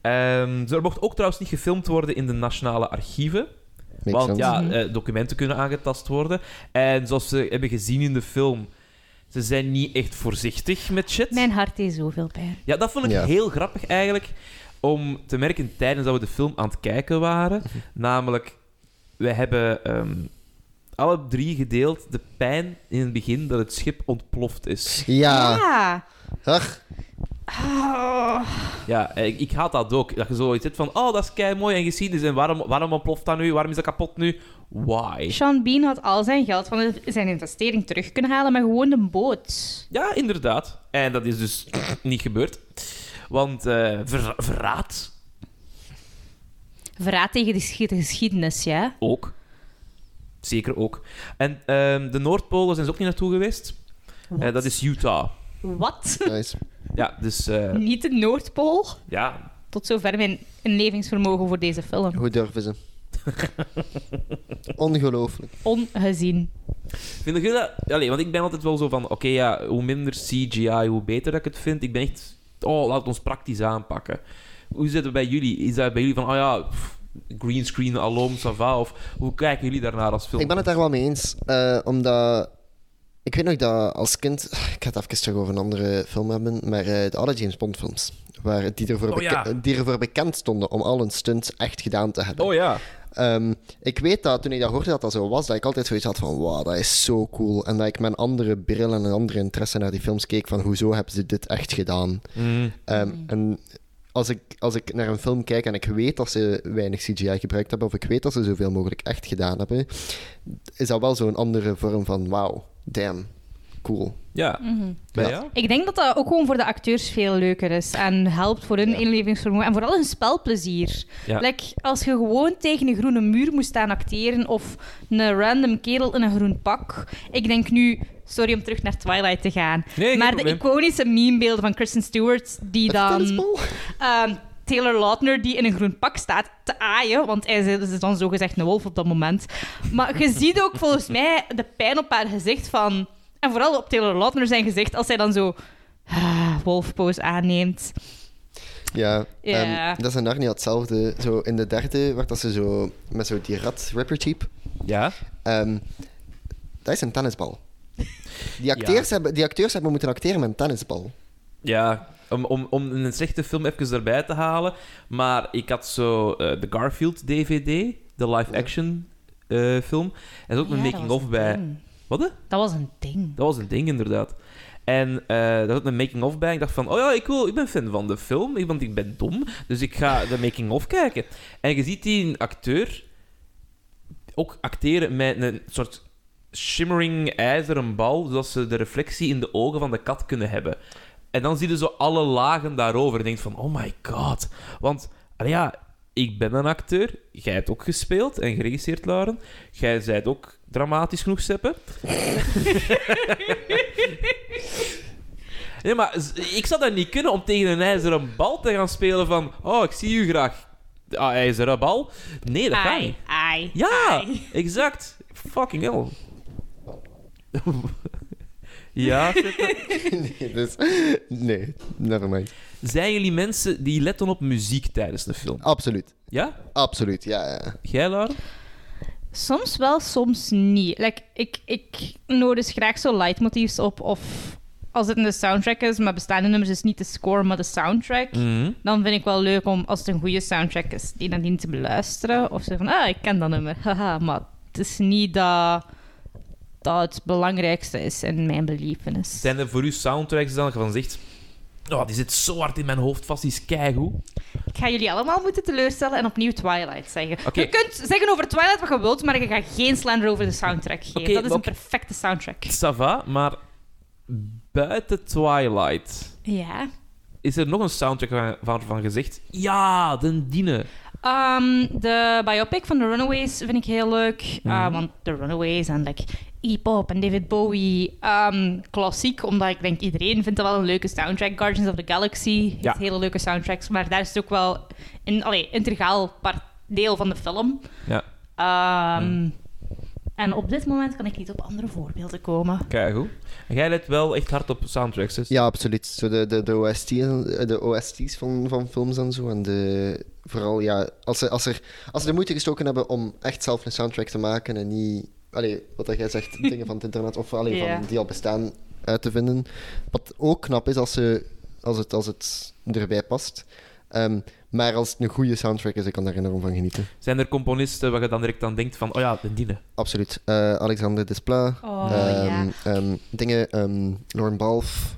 Ehm, er mocht ook trouwens niet gefilmd worden in de nationale archieven.
Makes
Want
sense.
ja,
Mhm.
eh, documenten kunnen aangetast worden. En zoals we hebben gezien in de film, ze zijn niet echt voorzichtig met shit.
Mijn hart deed zoveel pijn.
Ja, dat vond ik
Ja.
heel grappig eigenlijk. Om te merken tijdens dat we de film aan het kijken waren. Namelijk, we hebben ehm, alle drie gedeeld de pijn in het begin dat het schip ontploft is.
Ja. Ah, Ach,
Oh.
Ja, eh, ik, ik haat dat ook. Dat je zoiets zit van, oh, dat is kei mooi en geschiedenis. En waarom, waarom ontploft dat nu? Waarom is dat kapot nu? Why?
Sean Bean had al zijn geld van zijn investering terug kunnen halen, maar gewoon een boot.
Ja, inderdaad. En dat is dus niet gebeurd. Want eh, ver- verraad
Verraad tegen de geschied- geschiedenis, ja?
ook. Zeker ook. En ehm, de Noordpolen zijn ze ook niet naartoe geweest. Eh, dat is Utah.
Wat?
nice.
Ja, dus eh,
Niet de Noordpool?
ja.
Tot zover mijn inlevingsvermogen voor deze film.
Hoe durven ze? Ongelooflijk.
Ongezien.
Vind je dat? Allee, want ik ben altijd wel zo van: oké, ja, hoe minder CGI, hoe beter dat ik het vind. Ik ben echt. Oh, laat het ons praktisch aanpakken. Hoe zit het bij jullie? Is dat bij jullie van: oh ja, pff, green screen, alom, sava? Of hoe kijken jullie daarnaar als film?
Ik ben het daar wel mee eens. eh, omdat. Ik weet nog dat als kind. Ik ga het even terug over een andere film hebben. Maar eh, de alle James Bond films. Waar die ervoor,
Oh,
beke-
ja.
die ervoor bekend stonden om al hun stunts echt gedaan te hebben.
Oh ja.
Ehm, ik weet dat toen ik dat hoorde dat dat zo was, dat ik altijd zoiets had van wow, dat is zo cool. En dat ik met een andere
Mm.
bril
Mm.
en een andere interesse naar die films keek van hoezo hebben ze dit echt gedaan. Ehm, En als ik, als ik naar een film kijk en ik weet dat ze weinig CGI gebruikt hebben, of ik weet dat ze zoveel mogelijk echt gedaan hebben, is dat wel zo'n andere vorm van wauw, damn, cool.
Ja.
Ja.
Bij jou?
Ik denk dat dat ook gewoon voor de acteurs veel leuker is en helpt voor hun
Ja.
inlevingsvermogen en vooral hun spelplezier.
Ja.
Like, als je gewoon tegen een groene muur moest staan acteren of een random kerel in een groen pak. Ik denk nu, sorry om terug naar Twilight te gaan,
Nee, geen
maar de
probleem.
iconische memebeelden van Kristen Stewart die
Met de
dan...
tennisbal?
ehm, Taylor Lautner die in een groen pak staat te aaien, want hij is, is dan zogezegd een wolf op dat moment. Maar je ziet ook volgens mij de pijn op haar gezicht van... En vooral op Taylor Lautner zijn gezicht als zij dan zo... ah, wolfpose aanneemt.
Ja,
Ja.
ehm, dat is in Narnia hetzelfde. Zo in de derde werd dat ze zo met zo die rat rapper cheap.
Ja.
Ehm, dat is een tennisbal. Die acteurs, hebben, die acteurs hebben moeten acteren met een tennisbal.
Ja, om, om, om een slechte film even erbij te halen. Maar ik had zo eh, de Garfield DVD, de live-action eh, film. En er is ook
Ja,
een
dat was
making-of
een
bij.
ding.
Wat? hè?
Dat was een ding.
Dat was een ding, inderdaad. En eh daar had een making-of bij. Ik dacht van, oh ja, ik, wil, ik ben fan van de film, ik- want ik ben dom. Dus ik ga de making-of kijken. En je ziet die acteur ook acteren met een soort shimmering ijzeren bal, zodat ze de reflectie in de ogen van de kat kunnen hebben. En dan zie je zo alle lagen daarover. En je denkt van, oh my god. Want, allee, ja, ik ben een acteur. Jij hebt ook gespeeld en geregisseerd, Lauren. Jij zijt ook dramatisch genoeg, Seppe. Nee, maar z- ik zou dat niet kunnen om tegen een ijzeren bal te gaan spelen van... Oh, ik zie u graag. Ah, ijzeren bal. Nee, dat kan
Ai,
niet.
ai,
Ja,
ai.
exact. Fucking hell. ja,
nee, dus, nee, nevermind.
zijn jullie mensen die letten op muziek tijdens een film?
Absoluut,
Ja?
absoluut, ja. ja.
Jij, Laura?
Soms wel, soms niet. Like, ik, ik nodig graag zo leidmotiefs op of... Als het een soundtrack is, maar bestaande nummers is niet de score, maar de soundtrack.
Mhm.
dan vind ik wel leuk om, als het een goede soundtrack is, die dan dient te beluisteren. Of zo van, ah, ik ken dat nummer. Haha, maar het is niet dat dat het belangrijkste is in mijn belevenis.
Zijn er voor u soundtracks dan waarvan je zegt... Oh, die zit zo hard in mijn hoofd vast, die is keigoed.
Ik ga jullie allemaal moeten teleurstellen en opnieuw Twilight zeggen.
Oké.
Je kunt zeggen over Twilight wat je wilt, maar je gaat geen slander over de soundtrack geven.
Oké,
dat is een
oké.
perfecte soundtrack.
Sava, maar buiten Twilight...
Ja.
Is er nog een soundtrack wa- waarvan je zegt... Ja, den diene.
Ehm, de biopic van The Runaways vind ik heel leuk. Eh, want The Runaways en like, E-pop en David Bowie. ehm, klassiek, omdat ik denk iedereen vindt dat wel een leuke soundtrack. Guardians of the Galaxy heeft
Ja.
hele leuke soundtracks. Maar daar is het ook wel een allee, integraal part, deel van de film.
Ja,
Ehm, En op dit moment kan ik niet op andere voorbeelden komen.
keigoed. En Jij let wel echt hard op soundtracks, dus...
Ja, absoluut. Zo de, de, de, OST, en- eh, de OST's van, van films en zo. En de, vooral, ja, als ze, als, er, als ze de moeite gestoken hebben om echt zelf een soundtrack te maken en niet, allee, wat dat jij zegt, dingen van het internet of allee,
Ja.
van die al bestaan uit te vinden. Wat ook knap is als, ze, als, het, als het erbij past. Ehm, maar als het een goede soundtrack is, ik kan daar enorm van genieten.
Zijn er componisten waar je dan direct aan denkt van, oh ja, de Diene.
Absoluut. Eh, Alexander Desplat.
Oh,
Ehm,
ja.
ehm, dingen, ehm Lauren Balf,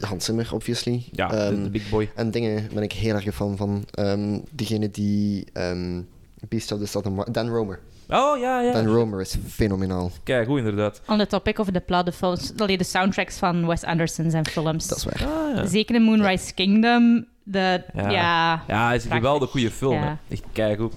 Hans Zimmer, obviously.
Ja, de-
Ehm,
de, big boy.
En dingen ben ik heel erg een fan van. Ehm, diegene die ehm, Beast of the Southern Wild... Dan Romer.
Oh, ja, ja.
Dan Romer is fenomenaal.
Kijk, goed inderdaad.
On the topic of the plot, de, films, allee, de soundtracks van Wes Anderson zijn films.
Dat is waar.
Ah, ja.
Zeker in Moonrise Kingdom. De,
Ja.
ja.
Ja, het is een
Prachtig.
geweldige goede film. hè.
Ja.
Echt keigoed.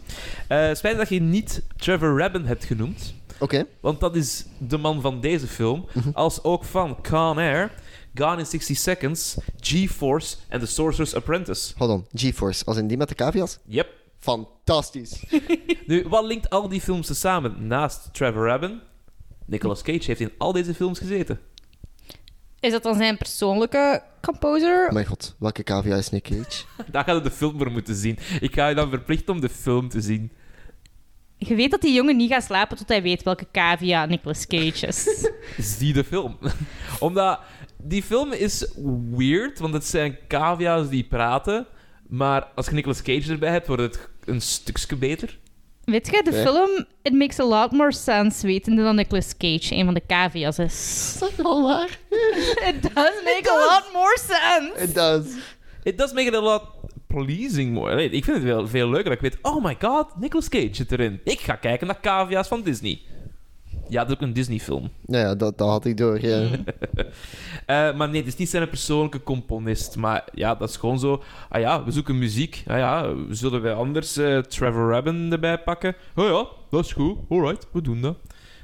Eh spijt dat je niet Trevor Rabin hebt genoemd.
Oké.
Want dat is de man van deze film. Als ook van Con Air, Gone in 60 Seconds, G-Force en The Sorcerer's Apprentice.
Hold on. GeForce. Als in die met de cavia's?
Yep.
Fantastisch.
Nu, wat linkt al die films te samen naast Trevor Rabin? Nicolas Cage heeft in al deze films gezeten.
Is dat dan zijn persoonlijke composer?
Mijn god. Welke cavia is Nick Cage?
Daar gaat je de film voor moeten zien. Ik ga je dan verplichten om de film te zien.
Je weet dat die jongen niet gaat slapen tot hij weet welke cavia Nicolas Cage is.
zie de film. Omdat die film is weird, want het zijn cavia's die praten. Maar als je Nicolas Cage erbij hebt, wordt het een stukje beter.
weet je, de
Ja.
film It Makes a Lot More Sense wetende dan Nicolas Cage een van de cavia's is.
Dat is wel waar.
It does make a lot more sense.
It does.
It does make it a lot pleasing mooi. Allee, ik vind het wel veel leuker dat ik weet, oh my god, Nicolas Cage zit erin. Ik ga kijken naar cavia's van Disney. Ja, dat is ook een Disney-film.
Ja, Nou ja, dat, dat had ik door. Ja.
Eh, maar nee, het is niet zijn persoonlijke componist. Maar ja, dat is gewoon zo. Ah ja, we zoeken muziek. Ah ja, zullen wij anders eh, Trevor Rabin erbij pakken? Oh ja, dat is goed. Alright, we doen dat.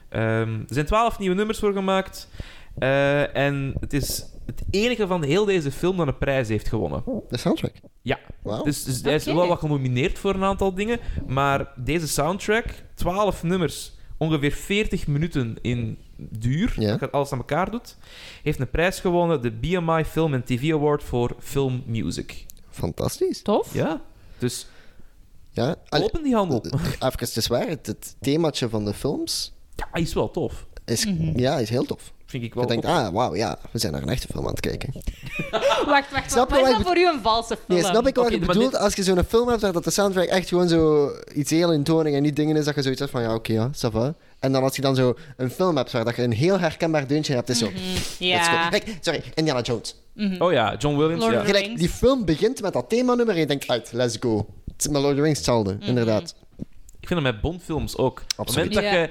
Ehm, er zijn twaalf nieuwe nummers voor gemaakt. Eh, en het is het enige van heel deze film dat een prijs heeft gewonnen.
De soundtrack.
Ja.
Wauw.
Dus, dus hij is
Oké.
wel wat genomineerd voor een aantal dingen. Maar deze soundtrack, 12 nummers, ongeveer 40 minuten in duur,
Ja.
dat je alles aan elkaar doet, heeft een prijs gewonnen, de BMI Film and TV Award voor Film Music.
Fantastisch.
Tof.
Ja. Dus
Ja, allee, eh,
open die handel.
even te zwaar, het, het themaatje van de films
Ja, is wel tof.
is, ja, is heel tof.
Vind Mhm. ik wel.
Je denkt,
ook-
ah, wauw, ja, we zijn naar een echte film aan het kijken.
Wacht, wacht,
Ah.
wacht.
Snap je
Wat
wat
is
ik
dat voor u een valse film?
Nee, snap ik wat
Oké,
je
maar
bedoelt?
dit-
Als je zo'n film hebt waar dat de soundtrack echt gewoon zo iets heel intonig en niet dingen is, dat je zoiets hebt van, ja, oké, ja, ça va. En dan als je dan zo een film hebt waar dat je een heel herkenbaar deuntje hebt, is zo...
Mhm,
let's go.
Ja.
Kijk, sorry, Indiana Jones.
Oh ja, John Williams.
Lord
ja.
of the
Gelijk,
Rings.
die film begint met dat themanummer en je denkt, uit, let's go. Het is met Lord of the Rings hetzelfde,
Mhm.
inderdaad.
Ik vind dat met Bondfilms ook. Op het moment
Absoluut.
dat
Ja.
je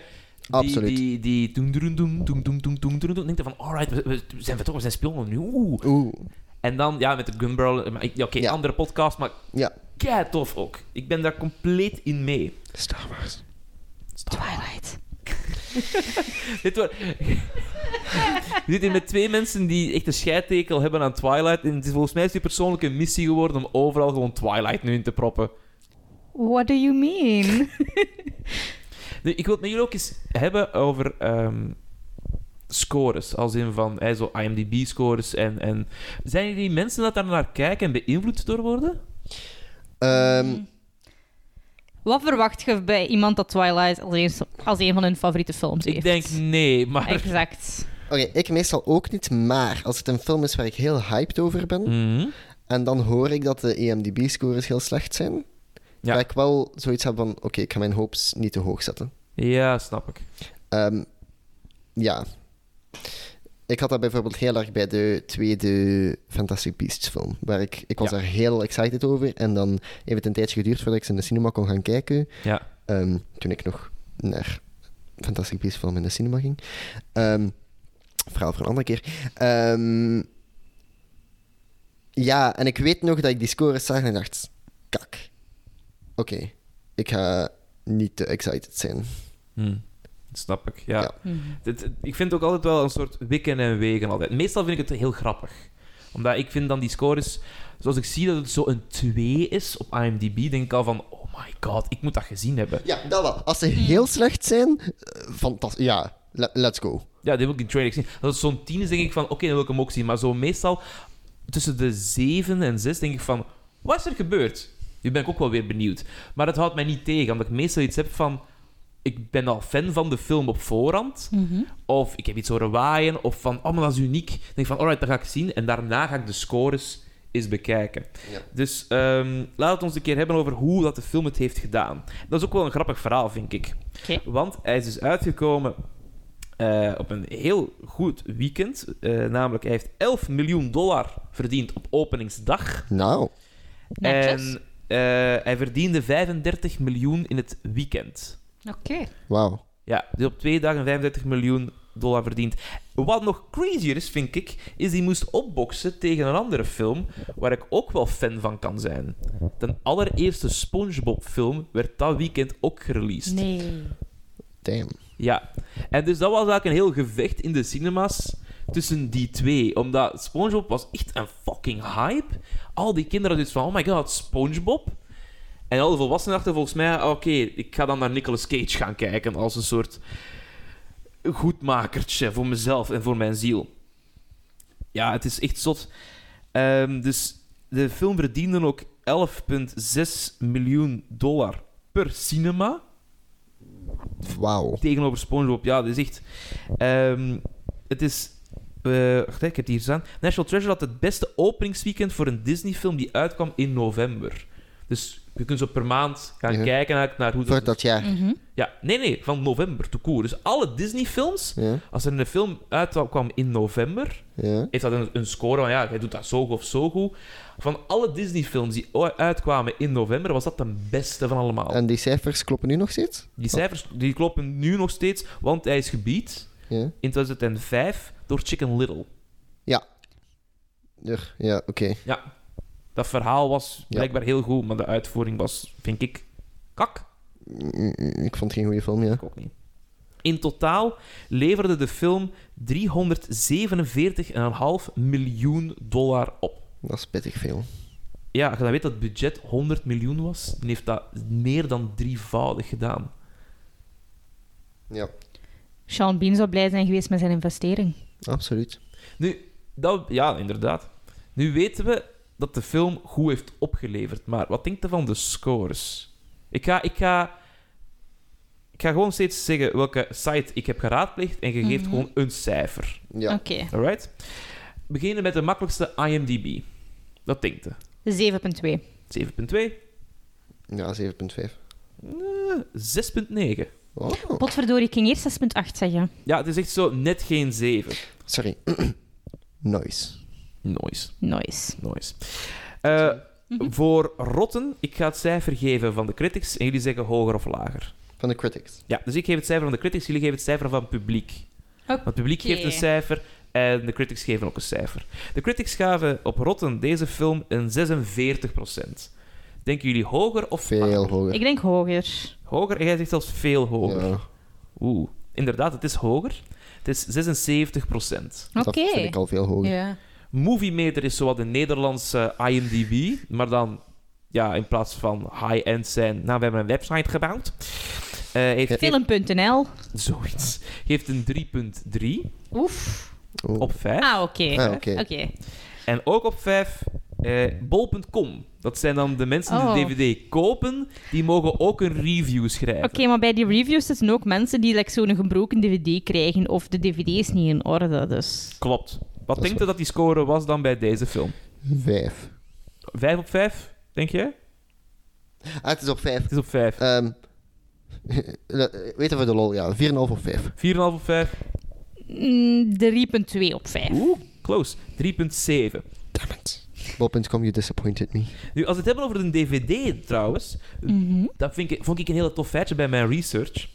die,
Absoluut.
die, die doen, doen, doen, doen, doen, doen, doen, doen, denk je van, alright, we, we zijn vertrokken, we zijn spionnen nu, oeh.
Oeh,
En dan, ja, met de Gunbarrel, maar ik- ja, oké,
Ja.
andere podcast, maar
ja.
kei tof ook. Ik ben daar compleet in mee.
Star Wars.
Twilight.
Dit wordt... Je zit hier met twee mensen die echt een scheidtekel hebben aan Twilight. En het is volgens mij is die persoonlijke missie geworden om overal gewoon Twilight nu in te proppen.
What do you mean?
Nu, ik wil het met jullie ook eens hebben over ehm, scores. Als in van eh, zo IMDb-scores. En, en zijn jullie mensen dat daar naar kijken en beïnvloed door worden?
Ehm,
Hmm. Wat verwacht je bij iemand dat Twilight als een, als een van hun favoriete films heeft?
Ik denk nee, maar.
Exact.
Oké, ik meestal ook niet, maar als het een film is waar ik heel hyped over ben,
Mhm.
en dan hoor ik dat de E EMDB-scores heel slecht zijn,
Ja.
dat ik wel zoiets heb van, oké, ik ga mijn hopes niet te hoog zetten.
Ja, snap ik.
Ehm, ja. Ik had dat bijvoorbeeld heel erg bij de tweede Fantastic Beasts film. Waar ik, ik was
Ja.
daar heel excited over. En dan heeft het een tijdje geduurd voordat ik ze in de cinema kon gaan kijken.
Ja.
Ehm, toen ik nog naar Fantastic Beasts film in de cinema ging. Ehm, verhaal voor een andere keer. Ehm, ja, en ik weet nog dat ik die scores zag en dacht... Kak. Oké, ik ga niet te excited zijn.
Hm, Snap ik, ja.
Ja.
Het- het- ik vind het ook altijd wel een soort wikken en wegen altijd. Meestal vind ik het heel grappig. Omdat ik vind dan die scores... Zoals ik zie dat het zo een 2 is op IMDb, denk ik al van... Oh my god, ik moet dat gezien hebben.
Ja, dat wel. Als ze heel slecht zijn, eh, fantastisch. Ja, le- let's go.
Ja, die wil ik in trailer zien. Dat is zo'n 10 is, denk ik van... Oké, dan wil ik hem ook zien. Maar zo meestal tussen de 7 en 6 denk ik van... Wat is er gebeurd? Nu ben ik ook wel weer benieuwd. Maar dat houdt mij niet tegen, omdat ik meestal iets heb van... Ik ben al fan van de film op voorhand. Of ik heb iets horen waaien. Of van, oh, maar dat is uniek. Dan denk ik van, alright, dat ga ik zien. En daarna ga ik de scores eens bekijken.
Ja.
Dus ehm laat het ons een keer hebben over hoe dat de film het heeft gedaan. Dat is ook wel een grappig verhaal, vind ik.
Oké.
Want hij is dus uitgekomen eh, op een heel goed weekend. Eh, namelijk, hij heeft 11 miljoen dollar verdiend op openingsdag.
Nou,
Netjes.
En eh, hij verdiende 35 miljoen in het weekend.
Oké.
wauw.
Ja, dus op twee dagen 35 miljoen dollar verdiend. Wat nog crazier is, vind ik, is die moest opboksen tegen een andere film waar ik ook wel fan van kan zijn. De allereerste SpongeBob-film werd dat weekend ook gereleased.
Nee.
Damn.
Ja, en dus dat was eigenlijk een heel gevecht in de cinema's tussen die twee. Omdat SpongeBob was echt een fucking hype. Al die kinderen dus van, oh my god, SpongeBob. En al de volwassenen dachten volgens mij, oké, ik ga dan naar Nicolas Cage gaan kijken als een soort goedmakertje voor mezelf en voor mijn ziel. Ja, het is echt zot. Ehm, dus de film verdiende ook 11,6 miljoen dollar per cinema
Wauw.
tegenover SpongeBob. Ja, dat is echt. ehm, het is. eh, wacht, hè, ik heb het hier staan. National Treasure had het beste openingsweekend voor een Disney-film die uitkwam in november. Dus je kunt zo per maand gaan
Ja.
kijken eigenlijk naar hoe
Voor dat jaar.
Mhm.
Ja, nee, nee, van november to court. Dus alle Disney-films,
Ja,
als er een film uitkwam in november,
ja.
heeft dat een, een score van ja, hij doet dat zo goed of zo goed. Van alle Disney-films die o- uitkwamen in november, was dat de beste van allemaal.
En die cijfers kloppen nu nog steeds?
Die cijfers die kloppen nu nog steeds, want hij is gebied
Ja.
in 2005 door Chicken Little.
Ja, ja oké.
Dat verhaal was
Ja.
blijkbaar heel goed, maar de uitvoering was, vind ik, kak.
Mm, mm, Ik vond het geen goede film, ja.
Ik ook niet. In totaal leverde de film 347,5 miljoen dollar op.
Dat is pittig veel.
Ja, als je dan weet dat het budget 100 miljoen was, dan heeft dat meer dan drievoudig gedaan.
Ja,
Sean Bean zou blij zijn geweest met zijn investering.
absoluut.
Nu, dat, ja, inderdaad. Nu weten we dat de film goed heeft opgeleverd, maar wat denkt je van de scores? Ik ga, ik ga, ik ga gewoon steeds zeggen welke site ik heb geraadpleegd en je geeft
Mhm.
gewoon een cijfer.
Ja.
Oké,
Alright? We beginnen met de makkelijkste IMDb. Dat denkt je.
7,2.
7.2,
Ja, 7.5.
6.9.
Oh,
Potverdorie, ik ging eerst 6,8 zeggen.
Ja, het is echt zo net geen 7.
sorry. nice.
Noise,
Nice.
noise. Eh, voor Rotten, ik ga het cijfer geven van de critics en jullie zeggen hoger of lager.
Van de critics.
Ja, dus ik geef het cijfer van de critics, jullie geven het cijfer van het publiek. Want het publiek
Oké.
geeft een cijfer en de critics geven ook een cijfer. De critics gaven op Rotten deze film een 46%. Denken jullie hoger of
Veel
lager?
hoger.
Ik denk hoger.
Hoger? En jij zegt zelfs veel hoger.
Ja,
Oeh, inderdaad, het is hoger. Het is 76%.
Oké.
Dat vind ik al veel hoger.
Ja.
Moviemeter is zowat de Nederlandse IMDb, maar dan ja, in plaats van high-end zijn... Nou, we hebben een website gebouwd. Eh heeft,
Film.nl.
heeft- zoiets. Geeft een 3.3
Oef.
Oh.
op 5.
Ah, oké.
Ah, oké.
Oké.
En ook op 5, eh, bol.com. Dat zijn dan de mensen die
Oh.
de DVD kopen, die mogen ook een review schrijven.
Oké, maar bij die reviews zitten ook mensen die like, zo'n gebroken dvd krijgen of de dvd is niet in orde, dus...
Klopt. Wat
is
denk je dat die score was dan bij deze film?
Vijf.
5 op 5, denk je?
Ah, het is op vijf.
Het is op 5. 4,5
Ehm weet je voor de lol, ja. 4,5 op vijf.
op 5.
Mm, 3,2 op 5.
Oeh, close. 3.7.
Damn it. Bol.com, you disappointed me.
Nu, als we het hebben over een DVD trouwens,
Mhm.
dat vind ik, vond ik een hele tof feitje bij mijn research.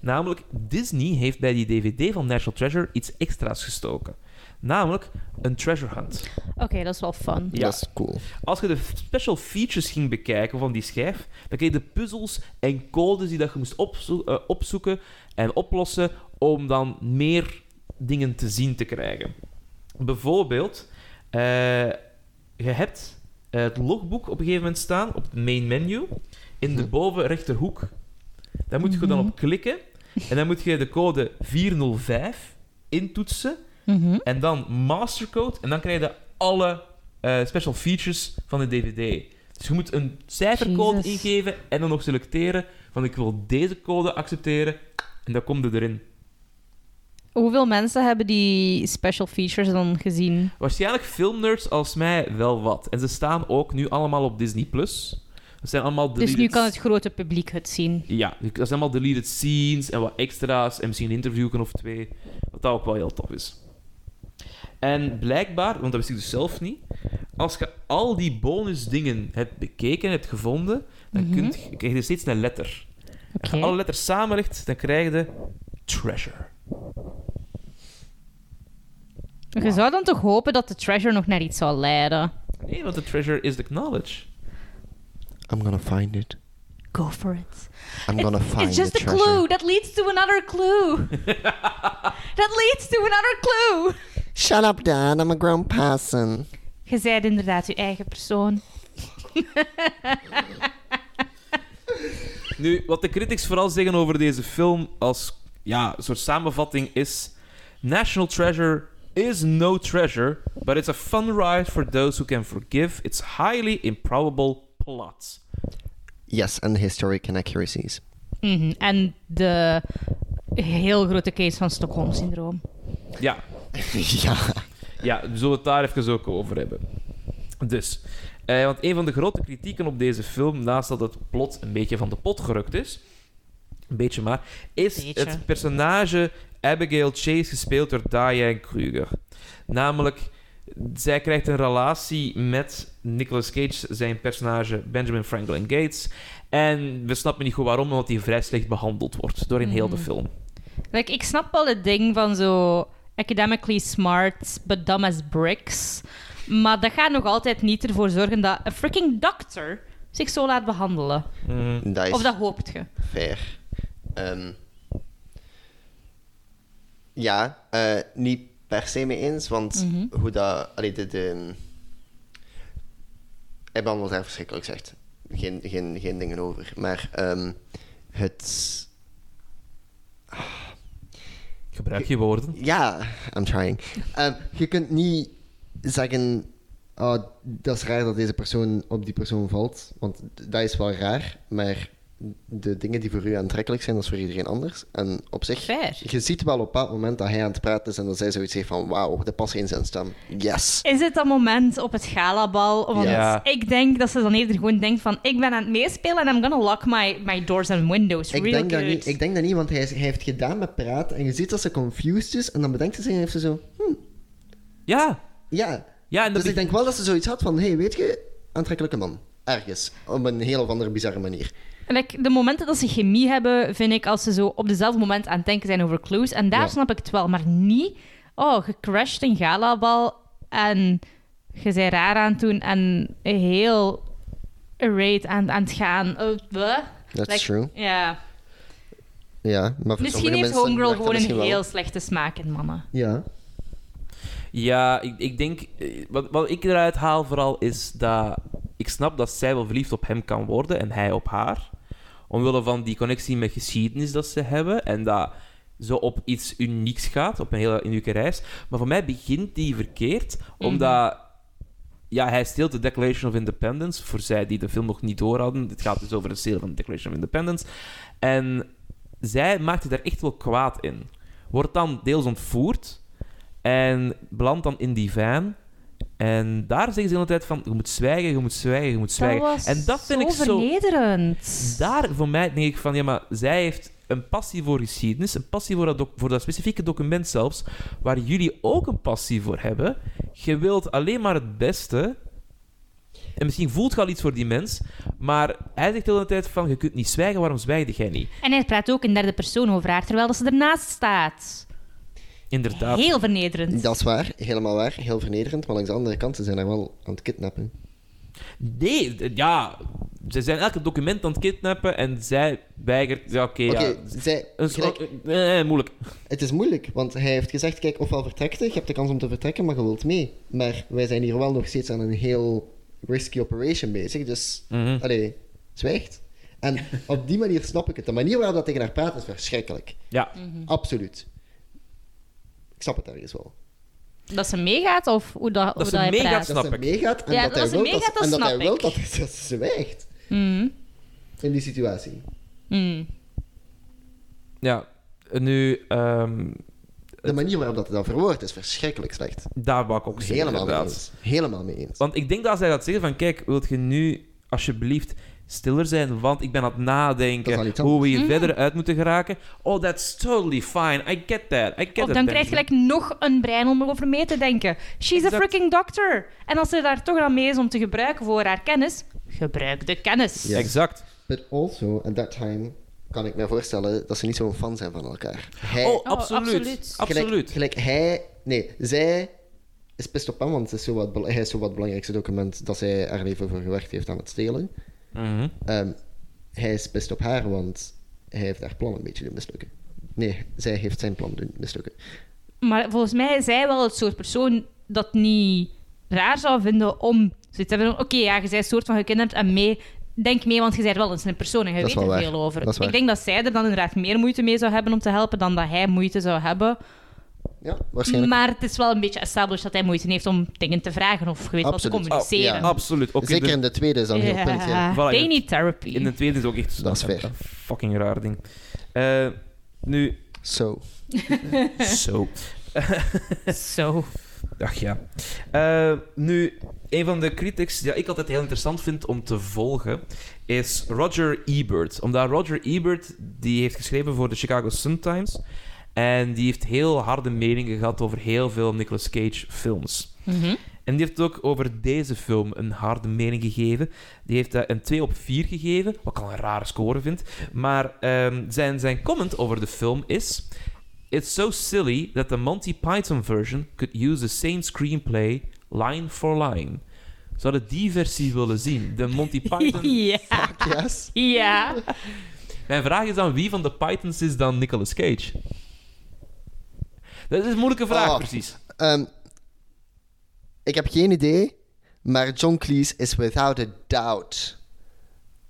Namelijk, Disney heeft bij die DVD van National Treasure iets extra's gestoken. Namelijk een treasure hunt.
Oké, dat is wel fun.
Ja.
Dat is cool.
Als je de special features ging bekijken van die schijf, dan kreeg je de puzzels en codes die dat je moest opzo- eh, opzoeken en oplossen om dan meer dingen te zien te krijgen. Bijvoorbeeld, eh, je hebt eh, het logboek op een gegeven moment staan op het main menu in de boven rechterhoek. Daar moet je dan op klikken en dan moet je de code 405 intoetsen
Mhm.
en dan Mastercode. En dan krijg je alle eh, special features van de DVD. Dus je moet een cijfercode
Jezus.
ingeven en dan nog selecteren van ik wil deze code accepteren. En dan komt het erin.
Hoeveel mensen hebben die special features dan gezien?
Waarschijnlijk filmnerds als mij wel wat. En ze staan ook nu allemaal op Disney+. Plus. Dat zijn allemaal
Dus
deleted...
nu kan het grote publiek het zien.
Ja, dat zijn allemaal deleted scenes en wat extra's en misschien een interviewken of twee. Wat dat ook wel heel tof is. En blijkbaar, want dat wist ik dus zelf niet, als je al die bonus dingen hebt bekeken, hebt gevonden, dan
Mhm.
kunt je- krijg je steeds een letter. Als
Oké.
je alle letters samenlegt, dan krijg je treasure.
Je zou dan toch hopen dat de treasure nog naar iets zou leiden?
Nee, want de treasure is the knowledge.
I'm gonna find it.
Go for it.
I'm gonna find
It's just
the
a
treasure.
clue that leads to another clue. that leads to another clue.
Shut up, Dad. I'm a grown person.
Je zijt inderdaad je eigen persoon.
Nu, wat de critics vooral zeggen over deze film als ja, een soort samenvatting is: National Treasure is no treasure, but it's a fun ride for those who can forgive its highly improbable plot.
Yes, and historic inaccuracies.
Mhm. En de heel grote case van Stockholm-syndroom.
Ja,
ja.
ja, we zullen het daar even ook over hebben. Dus, eh, want een van de grote kritieken op deze film, naast dat het plot een beetje van de pot gerukt is, een beetje maar, is
Beetje.
het personage Abigail Chase gespeeld door Diane Kruger. Namelijk, zij krijgt een relatie met Nicolas Cage, zijn personage Benjamin Franklin Gates. En we snappen niet goed waarom, want die vrij slecht behandeld wordt doorheen heel de
Mhm.
film.
Like, ik snap wel het ding van zo academically smart, but dumb as bricks. Maar dat gaat nog altijd niet ervoor zorgen dat een freaking dokter zich zo laat behandelen.
Dat is
Of dat hoopt je.
fair. Ehm, ja, eh, niet per se mee eens, want hoe dat... Allee, dit... ehm hij behandelt haar verschrikkelijk zegt. Geen, geen, geen dingen over. Maar ehm, het...
Gebruik je woorden.
Ja, I'm trying. Ehm, je kunt niet zeggen, oh, dat is raar dat deze persoon op die persoon valt, want dat is wel raar, maar de dingen die voor u aantrekkelijk zijn, dat is voor iedereen anders. En op zich,
Fair.
je ziet wel op een bepaald moment dat hij aan het praten is en dat zij zoiets heeft van, wauw, dat past in zijn stem. Yes.
Is het dat moment op het galabal? Want
Ja.
ik denk dat ze dan eerder gewoon denkt van... Ik ben aan het meespelen en I'm gonna lock my, my doors and windows
Ik
real
denk, dat
good.
niet, ik denk dat niet, want hij, is- hij heeft gedaan met praten en je ziet dat ze confused is en dan bedenkt ze zich en heeft ze zo, hm,
Ja,
ja.
ja en dat
Dus ik denk wel dat ze zoiets had van, hey, weet je, aantrekkelijke man. Ergens. Op een heel of andere bizarre manier.
Like, de momenten dat ze chemie hebben, vind ik als ze zo op dezelfde moment aan het denken zijn over clues. En daar
Ja.
snap ik het wel, maar niet. Oh, gecrashed een galabal en je zei raar aan het doen en heel arrayed aan, aan het gaan. Eh, bleh.
That's
Like,
true.
Ja.
Ja, maar voor
Misschien
sommige
heeft
mensen
Homegirl
werkt dat
gewoon een
misschien wel.
heel slechte smaak in mannen.
Ja.
Ja, ik, ik denk... eh, Wat, wat ik eruit haal vooral is dat... Ik snap dat zij wel verliefd op hem kan worden en hij op haar. Omwille van die connectie met geschiedenis dat ze hebben. En dat zo op iets unieks gaat, op een hele unieke reis. Maar voor mij begint die verkeerd, omdat... Ja, hij steelt de Declaration of Independence. Voor zij die de film nog niet door hadden. Dit gaat dus over het stelen van de Declaration of Independence. En zij maakte daar echt wel kwaad in. Wordt dan deels ontvoerd. En belandt dan in die van. En daar zeggen ze de hele tijd van... Je moet zwijgen, je moet zwijgen, je moet zwijgen.
Dat was
en dat vind
zo
ik zo...
vernederend.
Daar voor mij denk ik van... Ja, maar zij heeft een passie voor geschiedenis. Een passie voor dat, doc- voor dat specifieke document zelfs. Waar jullie ook een passie voor hebben. Je wilt alleen maar het beste... En misschien voelt je al iets voor die mens, maar hij zegt de hele tijd van, je kunt niet zwijgen, waarom zwijgde jij niet?
En hij praat ook in derde persoon over haar, terwijl dat ze ernaast staat.
Inderdaad.
Heel vernederend.
Dat is waar, helemaal waar. Heel vernederend, maar langs de andere kant, ze zijn haar wel aan het kidnappen.
Nee, d- ja. Ze zijn elke document aan het kidnappen en zij weigert. Ja, oké.
Oké,
ja.
zij...
Een scho-
gelijk,
eh, eh, moeilijk.
het is moeilijk, want hij heeft gezegd, kijk, ofwel vertrekt je, je hebt de kans om te vertrekken, maar je wilt mee. Maar wij zijn hier wel nog steeds aan een heel risky operation bezig, dus...
Mhm.
Allee, zwijgt. En op die manier snap ik het. De manier waarop dat tegen haar praat is verschrikkelijk.
Ja.
Mhm.
Absoluut. Ik snap het ergens wel.
Dat ze meegaat of hoe dat, hoe
ze
dat hij
meegaat,
praat?
Snap
dat ze
ik.
meegaat en
Ja,
dat,
dat
hij
ze
wil
meegaat,
dat,
dat
en dat, hij
snap
wil
ik.
dat, dat ze zwijgt
Mhm.
in die situatie.
Mm.
ja. En Nu, ehm,
De manier waarop dat dan verwoord is verschrikkelijk slecht.
daar wou ik ook zeggen.
Helemaal mee
inderdaad.
eens. Helemaal mee eens.
Want ik denk dat als hij gaat zeggen: van kijk, wilt je nu alsjeblieft stiller zijn? Want ik ben aan het
Dat is wel
nadenken
iets
hoe we hier
Mhm.
verder uit moeten geraken. Oh, that's totally fine. I get that. I get that,
Of Oh, dan
Benjamin.
krijg je gelijk nog een brein om erover mee te denken. She's a
Exact.
freaking doctor. En als ze daar toch aan mee is om te gebruiken voor haar kennis, gebruik de kennis.
Ja.
Exact.
But also, at that time, kan ik me voorstellen dat ze niet zo'n fan zijn van elkaar. Hij,
Oh,
Oh,
absoluut.
absoluut.
gelijk,
Absoluut.
Eh, Gelijk hij... Nee, zij is pist op hem, want het is zo wat, bela- hij is zo wat het belangrijkste document dat zij haar leven voor gewerkt heeft aan het stelen.
Mhm.
Ehm, hij is pist op haar, want hij heeft haar plan een beetje doen mislukken. Nee, zij heeft zijn plan doen mislukken.
Maar volgens mij is zij wel het soort persoon dat niet raar zou vinden om zoiets te hebben van, oké, ja, je bent soort van gekinderd en mee, denk mee, want je bent wel eens een persoon en je
Dat is
weet er
wel waar.
veel over.
Dat is waar.
Ik denk dat zij er dan inderdaad meer moeite mee zou hebben om te helpen dan dat hij moeite zou hebben.
Ja, waarschijnlijk.
Maar het is wel een beetje established dat hij moeite heeft om dingen te vragen of je weet wat te
Absoluut.
communiceren.
Oh, ja.
Absoluut. Oké, dus-
Zeker
de-
in de tweede is dat een heel punt. Ja.
Ja.
Voilà,
They
in-
need therapy.
In de tweede is ook echt
Dat is
een,
fair.
een fucking raar ding. Eh, nu,
Zo.
zo.
Zo.
Ach ja. Eh, nu, een van de critics die ik altijd heel interessant vind om te volgen, is Roger Ebert. Omdat Roger Ebert, die heeft geschreven voor de Chicago Sun-Times. En die heeft heel harde meningen gehad over heel veel Nicolas Cage films.
Mhm.
En die heeft ook over deze film een harde mening gegeven. Die heeft daar een 2 op 4 gegeven, wat ik al een rare score vind. Maar ehm, zijn, zijn comment over de film is... It's so silly that the Monty Python version could use the same screenplay line for line. Ze hadden die versie willen zien. De Monty Python...
Ja.
Yes.
Ja.
Mijn vraag is dan, wie van de Pythons is dan Nicolas Cage? Dat is een moeilijke vraag,
Oh.
precies.
Ehm, ik heb geen idee, maar John Cleese is without a doubt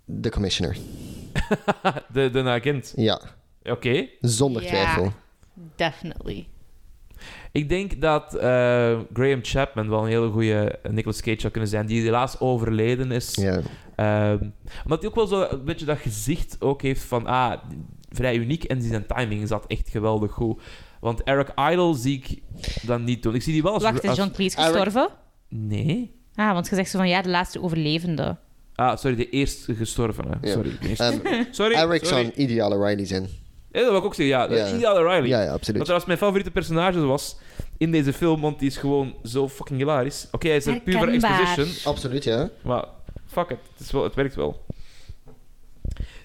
de commissioner.
De, de agent.
Ja,
Oké.
zonder
Ja.
twijfel.
Definitely.
Ik denk dat eh, Graham Chapman wel een hele goede Nicolas Cage zou kunnen zijn, die helaas overleden is.
Ja.
Ehm, omdat hij ook wel zo een beetje dat gezicht ook heeft van, ah, vrij uniek en die zijn timing zat echt geweldig goed. Want Eric Idle zie ik dan niet doen. Ik zie die wel als...
Wacht, is
als-
John Cleese
Eric-
gestorven?
Nee?
Ah, want je zegt zo van ja, de laatste overlevende.
Ah, sorry, de eerst gestorvene.
Ja.
Sorry. de eerst-
Ehm,
sorry,
Eric
sorry.
zou een ideale Riley zijn.
Ja, dat wil ik ook zeggen, ja.
Ja.
de Ideale Riley.
Ja, ja, absoluut.
Wat trouwens mijn favoriete personage was in deze film, want die is gewoon zo fucking hilarisch. Oké, hij is er puur voor
Herkenbaar.
exposition,
Absoluut, ja.
Maar fuck it, het, is wel, het werkt wel.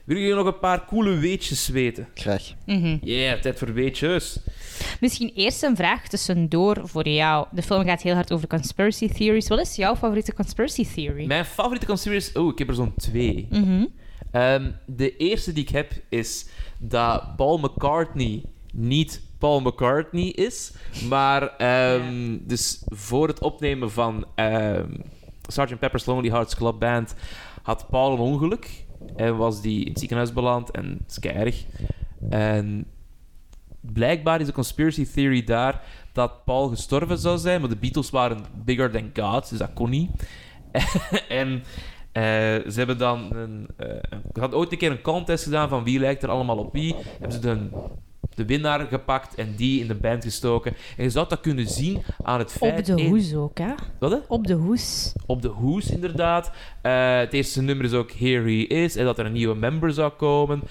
Willen jullie nog een paar coole weetjes weten?
Graag.
Mhm.
Yeah, tijd voor weetjes.
Misschien eerst een vraag tussendoor voor jou. De film gaat heel hard over conspiracy theories. Wat is jouw favoriete conspiracy theory?
Mijn favoriete conspiracy... Oh, ik heb er zo'n twee.
Mhm.
Ehm, de eerste die ik heb is dat Paul McCartney niet Paul McCartney is, maar ehm, dus voor het opnemen van ehm Sgt. Pepper's Lonely Hearts Club Band had Paul een ongeluk en was die in het ziekenhuis beland en het is kei erg. En blijkbaar is de conspiracy theory daar dat Paul gestorven zou zijn, maar de Beatles waren bigger than God, dus dat kon niet. en eh, ze hebben dan een, eh, een- ze hadden ooit een keer een contest gedaan van wie lijkt er allemaal op wie. Hebben ze de, de winnaar gepakt en die in de band gestoken. En je zou dat kunnen zien aan het feit...
Op de
één-
hoes ook, hè?
Wat, hè?
Op de hoes.
op de hoes, inderdaad. Eh, het eerste nummer is ook Here He Is en dat er een nieuwe member zou komen.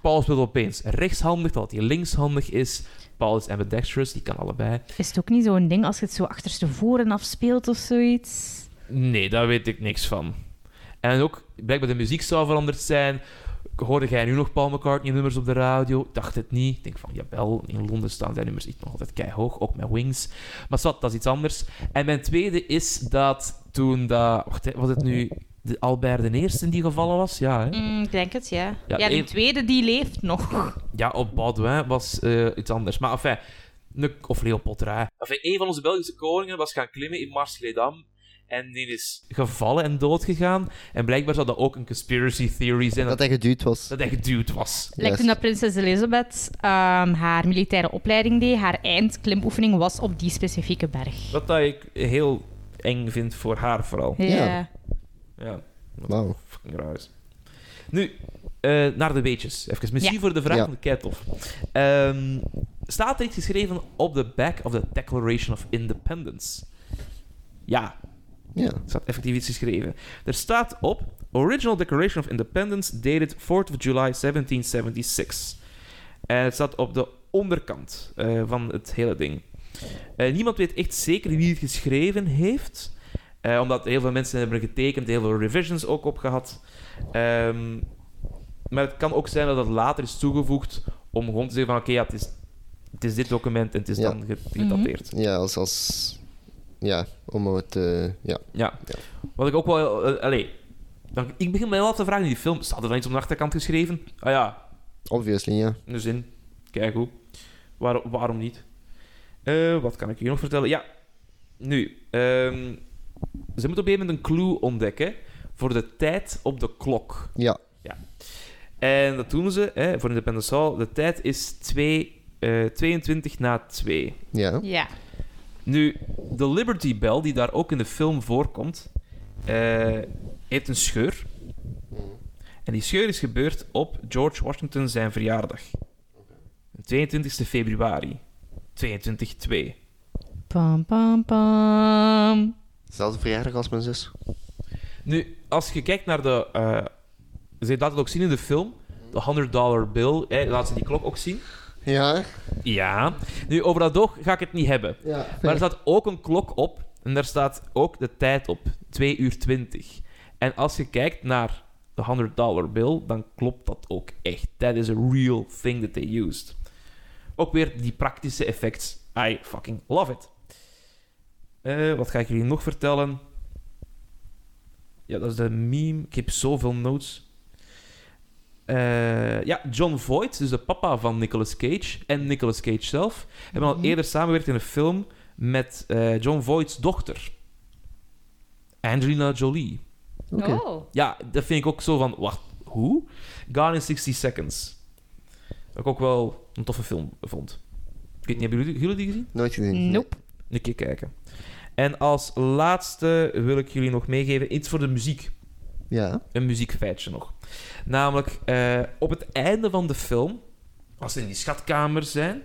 Paul speelt opeens rechtshandig, dat hij linkshandig is. Paul is ambidextrous, die kan allebei.
Is het ook niet zo'n ding als je het zo achterstevoren afspeelt of zoiets?
Nee, daar weet ik niks van. En ook, blijkbaar de muziek zou veranderd zijn. Hoorde jij nu nog Paul McCartney-nummers op de radio? Ik Dacht het niet. Ik denk van, jawel, in Londen staan zijn nummers echt nog altijd keihog, ook met Wings. Maar zat, dat is iets anders. En mijn tweede is dat toen dat... Wacht, hè, was het nu de Albert de Eerste die gevallen was? Ja, hè?
Mm, ik denk het, ja.
Ja,
Ja,
de
de
een-
tweede die leeft nog.
Ja, op Baudouin was eh, iets anders. Maar enfin, ne- of Leopold Rai. Enfin, een van onze Belgische koningen was gaan klimmen in Mars-Gledam. En die is gevallen en doodgegaan. En blijkbaar zou dat ook een conspiracy theory zijn.
Dat
Dat,
hij geduwd was.
dat hij geduwd was.
Like toen dat prinses Elizabeth ehm, haar militaire opleiding deed, haar eindklimoefening was op die specifieke berg.
Wat dat ik heel eng vind voor haar vooral.
Ja.
Ja.
Ja,
Wauw.
fucking raar is. Nu, eh, naar de weetjes. Even, misschien
Ja.
voor de vraag
Ja.
van de Keitof. Ehm staat er iets geschreven op de back of the Declaration of Independence? Ja,
Ja.
Er staat effectief iets geschreven. Er staat op Original Declaration of Independence dated 4th of July 1776. En het staat op de onderkant eh, van het hele ding. Eh, niemand weet echt zeker wie het geschreven heeft. eh, omdat heel veel mensen hebben getekend, heel veel revisions ook op gehad. Ehm, maar het kan ook zijn dat het later is toegevoegd om gewoon te zeggen van oké, ja, het, is, het is dit document en het is
Ja.
dan ge- gedateerd.
Ja, als... als... Ja, om het... eh, ja.
Ja.
Ja.
Wat ik ook wel... eh, allee. Dan, ik begin mij wel af te vragen in die film. Staat er dan iets op de achterkant geschreven? Ah ja,
Obviously, ja.
een zin. Kijk hoe. Waar, waarom niet? Eh, wat kan ik hier nog vertellen? Ja. Nu. ehm, ze moeten op een gegeven moment een clue ontdekken voor de tijd op de klok.
Ja.
En dat doen ze hè, voor Independence Hall. De tijd is 2, eh 22 na 2.
Ja.
Ja.
Nu, de Liberty Bell, die daar ook in de film voorkomt, eh, heeft een scheur. En die scheur is gebeurd op George Washington zijn verjaardag. 22 februari. 22-2.
Pam, pam, pam.
Zelfde verjaardag als mijn zus.
Nu, als je kijkt naar de... eh ze laat het ook zien in de film. De 100 dollar bill. Hè, laat ze die klok ook zien.
Ja?
Ja. Nu, over dat oog ga ik het niet hebben.
Ja.
Maar er staat ook een klok op. En daar staat ook de tijd op. 2 uur 20. En als je kijkt naar de 100 dollar bill, dan klopt dat ook echt. That is a real thing that they used. Ook weer die praktische effects. I fucking love it. Eh, wat ga ik jullie nog vertellen? Ja, dat is de meme. Ik heb zoveel notes. Eh, ja, John Voight, dus de papa van Nicolas Cage en Nicolas Cage zelf, hebben al
Mhm.
eerder samengewerkt in een film met eh, John Voight's dochter, Angelina Jolie.
Oké.
Oh.
Ja, dat vind ik ook zo van, wacht, hoe? Gone in 60 Seconds. Dat ik ook wel een toffe film vond. Ik weet niet, hebben jullie, jullie die gezien?
Nooit gezien.
Nope.
Een keer kijken. En als laatste wil ik jullie nog meegeven iets voor de muziek.
Ja.
Een muziekfeitje nog. Namelijk, eh, op het einde van de film, als ze in die schatkamers zijn,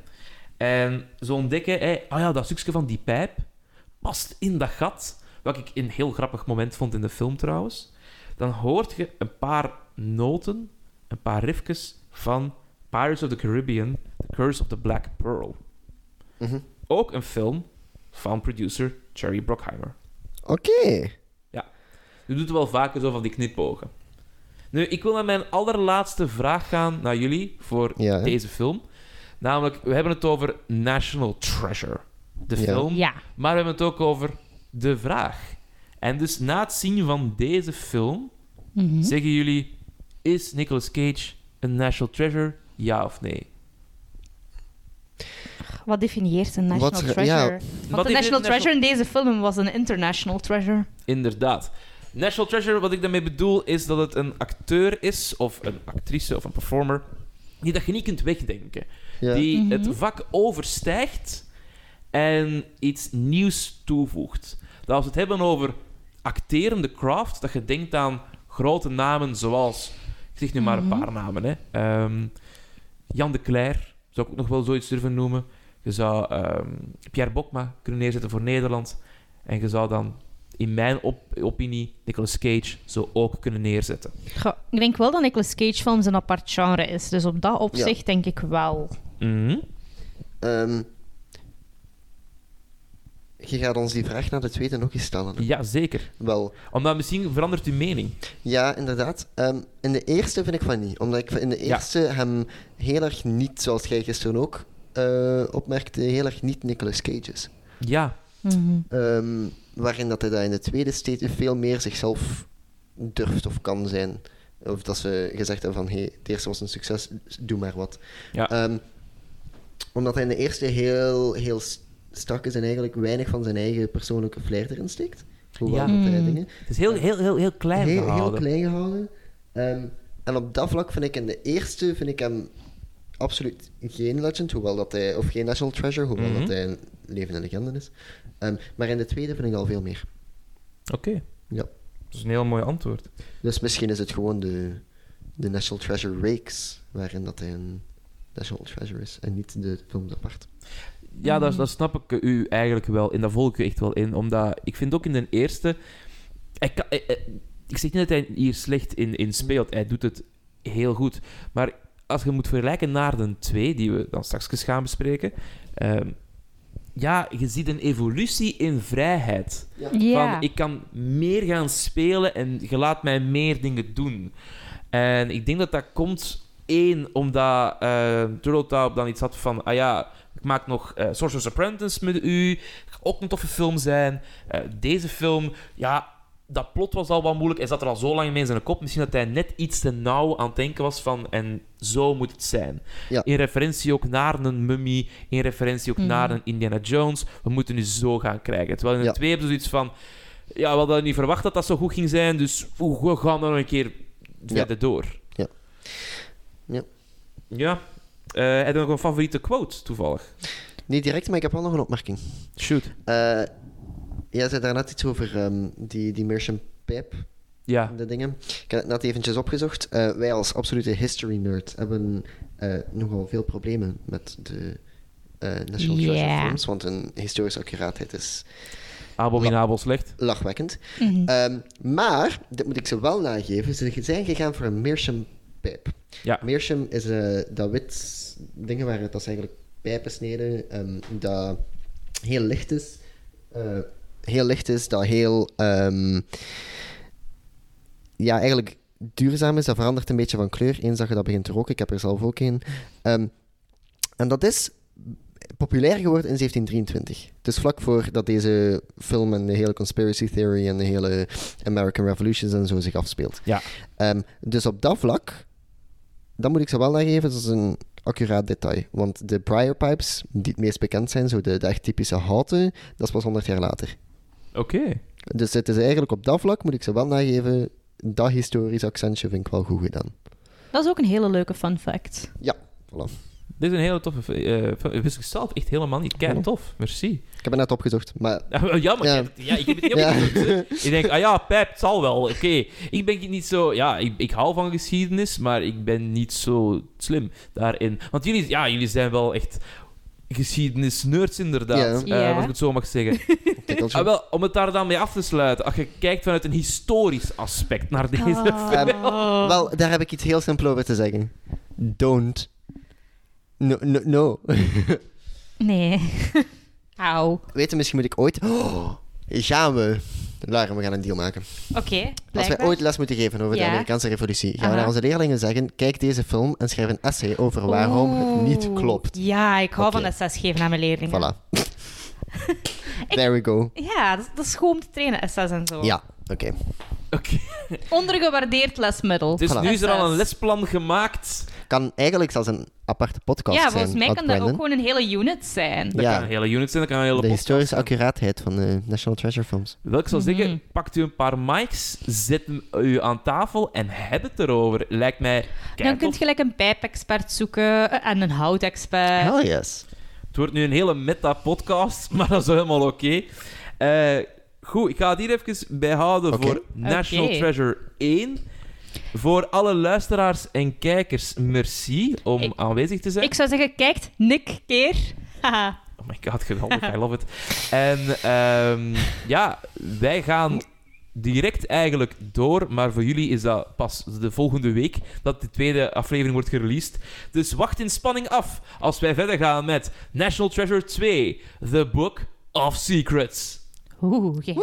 en ze ontdekken, eh, ah ja, dat stukje van die pijp past in dat gat, wat ik een heel grappig moment vond in de film trouwens, dan hoort je een paar noten, een paar riffjes van Pirates of the Caribbean, The Curse of the Black Pearl.
Mhm.
Ook een film van producer Jerry Brockheimer.
Oké.
Je doet wel vaker zo van die knipogen. Nu, ik wil naar mijn allerlaatste vraag gaan naar jullie voor
Ja. hè?
deze film. Namelijk, we hebben het over National Treasure, de
Ja.
film.
Ja.
Maar we hebben het ook over de vraag. En dus na het zien van deze film
Mhm.
zeggen jullie: is Nicolas Cage een National Treasure? Ja of nee?
Wat definieert een
Wat
national
is er- ja.
treasure?
Wat
Want de
is
national
een
treasure in deze film was een international treasure.
Inderdaad. National Treasure, wat ik daarmee bedoel, is dat het een acteur is, of een actrice, of een performer, die dat je niet kunt wegdenken.
Ja.
die
Mhm.
het vak overstijgt en iets nieuws toevoegt. Dat als we het hebben over acterende craft, dat je denkt aan grote namen zoals, ik zeg nu maar een
Mhm.
paar namen, hè. Ehm, Jan de Cler, zou ik ook nog wel zoiets durven noemen. Je zou ehm, Pierre Bokma kunnen neerzetten voor Nederland. En je zou dan, in mijn op- opinie, Nicolas Cage zo ook kunnen neerzetten.
Goh, ik denk wel dat Nicolas Cage films een apart genre is. Dus op dat opzicht denk ik wel.
Mhm.
Ehm, je gaat ons die vraag naar de tweede nog eens stellen. hè?
Ja, zeker.
Wel,
Omdat misschien verandert uw mening.
ja, inderdaad. Ehm, in de eerste vind ik van niet. Omdat ik in de
Ja.
eerste hem heel erg niet, zoals jij gisteren ook eh, opmerkte, heel erg niet Nicolas Cage is.
Ja,
Mhm.
Ehm, waarin dat hij dat in de tweede steeds veel meer zichzelf durft of kan zijn. Of dat ze gezegd hebben van, hé, hey, het eerste was een succes, doe maar wat.
Ja.
Ehm, omdat hij in de eerste heel, heel s- strak is en eigenlijk weinig van zijn eigen persoonlijke flair erin steekt. Hoewel
Ja.
dat hij
Mm.
dingen...
Het is heel, heel, heel, heel klein
heel, heel
gehouden.
klein gehouden. Ehm, en op dat vlak vind ik in de eerste vind ik hem absoluut geen legend, hoewel dat hij, of geen national treasure, hoewel
Mhm.
dat hij een levende legende is. Ehm, maar in de tweede vind ik al veel meer.
Oké.
Ja.
Dat is een heel mooi antwoord.
Dus misschien is het gewoon de, de national treasure reeks, waarin dat hij een national treasure is en niet de film apart.
Ja, dat, dat snap ik eh, u eigenlijk wel. En daar volg ik u echt wel in. Omdat ik vind ook in de eerste... Hij kan- eh, eh, ik zeg niet dat hij hier slecht in, in speelt. Hij doet het heel goed. Maar als je moet vergelijken naar de twee, die we dan straks gaan bespreken... ehm, ja, je ziet een evolutie in vrijheid. Van, ik kan meer gaan spelen en je laat mij meer dingen doen. En ik denk dat dat komt, één, omdat eh Turtle Taub dan iets had van... Ah ja, ik maak nog eh Sorcerer's Apprentice met u. Gaat Ook een toffe film zijn. Eh, deze film, ja, dat plot was al wat moeilijk. Hij zat er al zo lang mee in zijn kop. Misschien dat hij net iets te nauw aan het denken was van... En zo moet het zijn.
Ja.
In referentie ook naar een mummy. In referentie ook
Mhm.
naar een Indiana Jones. We moeten nu zo gaan krijgen. Terwijl in de
Ja.
twee hebben ze zoiets van... Ja, we hadden niet verwacht dat dat zo goed ging zijn. Dus oeh, we gaan er nog een keer
Ja.
verder door.
Ja. Ja.
Ja. Eh, heb je nog een favoriete quote, toevallig?
Niet direct, maar ik heb wel nog een opmerking.
Shoot.
Eh, jij zei daarnet iets over ehm, die, die Merchant Pijp.
Ja.
de dingen. Ik heb het net eventjes opgezocht. Eh, wij als absolute history nerd hebben eh, nogal veel problemen met de eh, National
Ja.
Treasure films, want hun historische accuraatheid is
Abominabel slecht.
lachwekkend.
Mhm.
Ehm, maar, dit moet ik ze wel nageven, ze zijn gegaan voor een Meerschaum pijp.
Ja.
Meerschaum is eh, dat wit ding waar het als eigenlijk pijpen sneden, ehm, dat heel licht is. eh, heel licht is, dat heel... ehm, ja, eigenlijk duurzaam is. Dat verandert een beetje van kleur eens dat je dat begint te roken. Ik heb er zelf ook een. Ehm, en dat is populair geworden in 1723. Dus vlak voordat deze film en de hele conspiracy theory en de hele American Revolutions en zo zich afspeelt.
Ja.
Ehm, dus op dat vlak, dat moet ik ze wel nageven, dat is een accuraat detail. Want de Briar Pipes, die het meest bekend zijn, zo de, de echt typische houten, dat is pas 100 jaar later.
Oké.
Dus het is eigenlijk op dat vlak, moet ik ze wel nageven, dat historisch accentje vind ik wel goed gedaan.
Dat is ook een hele leuke fun fact.
Voilà.
Dit is een hele toffe eh, film. Dat wist ik zelf echt helemaal niet. Kijk, tof. Merci.
Ik heb het net opgezocht, maar...
Jammer.
Ja.
Ja. Ja, ik heb het helemaal
Ja.
niet gezien. Ik denk, ah ja, pijp, het zal wel. Oké. Ik ben niet zo... Ja, ik, ik hou van geschiedenis, maar ik ben niet zo slim daarin. Want jullie, ja, jullie zijn wel echt geschiedenisnerds, inderdaad.
Ja.
Eh,
Ja.
als ik het zo mag zeggen.
tikkeltje.
Ah, wel, om het daar dan mee af te sluiten. Als je kijkt vanuit een historisch aspect
Ah.
naar deze film.
Ehm,
Oh.
Wel, daar heb ik iets heel simpel over te zeggen. Don't. No, no, no.
Nee. Auw.
Weet je, misschien moet ik ooit... Oh, gaan we... Lara, we gaan een deal maken.
Oké,
Als wij
blijkbaar.
ooit les moeten geven over de
Ja.
Amerikaanse revolutie, gaan we
Aha.
naar onze leerlingen zeggen, kijk deze film en schrijf een essay over waarom het niet
Oeh.
klopt.
Ja, ik hou van
Oké.
SS geven aan mijn leerlingen.
Voilà. There we go.
Ja, dat, dat is gewoon om te trainen, SS en zo.
Ja, oké.
Oké.
Ondergewaardeerd lesmiddel.
Dus
Voilà.
nu is er al een lesplan gemaakt.
Kan eigenlijk zelfs een aparte podcast
ja,
zijn.
volgens mij
wat
kan dat ook
Brandon-
gewoon een hele unit zijn.
Dat
Ja.
kan een hele unit zijn, dat kan een hele
De
podcast
historische
zijn.
accuraatheid van de National Treasure films.
Wel, ik zou
Mhm.
zeggen, pakt u een paar mics, zet hem u aan tafel en heb het erover. Lijkt mij
Dan
keitof.
kun je gelijk een pijpexpert zoeken eh, en een houtexpert.
Hell yes.
Het wordt nu een hele meta-podcast, maar dat is wel helemaal oké. Eh, goed, ik ga het hier even bijhouden
Oké.
voor National
Oké.
Treasure 1. Voor alle luisteraars en kijkers, merci om
Ik-
aanwezig te zijn.
Ik zou zeggen, kijkt Nick keer. Haha.
Oh my god, geweldig, I love it. En ehm, ja, wij gaan direct eigenlijk door, maar voor jullie is dat pas de volgende week dat de tweede aflevering wordt gereleased. Dus wacht in spanning af als wij verder gaan met National Treasure 2, The Book of Secrets.
Oeh, ja.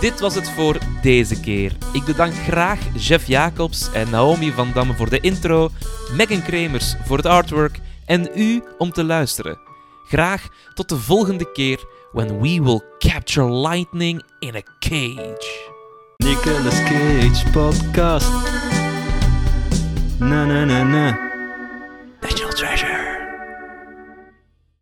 Dit was het voor deze keer. Ik bedank graag Jeff Jacobs en Naomi van Damme voor de intro, Megan Kremers voor het artwork en u om te luisteren. Graag tot de volgende keer when we will capture lightning in a cage.
Nicolas Cage podcast. Na na na na.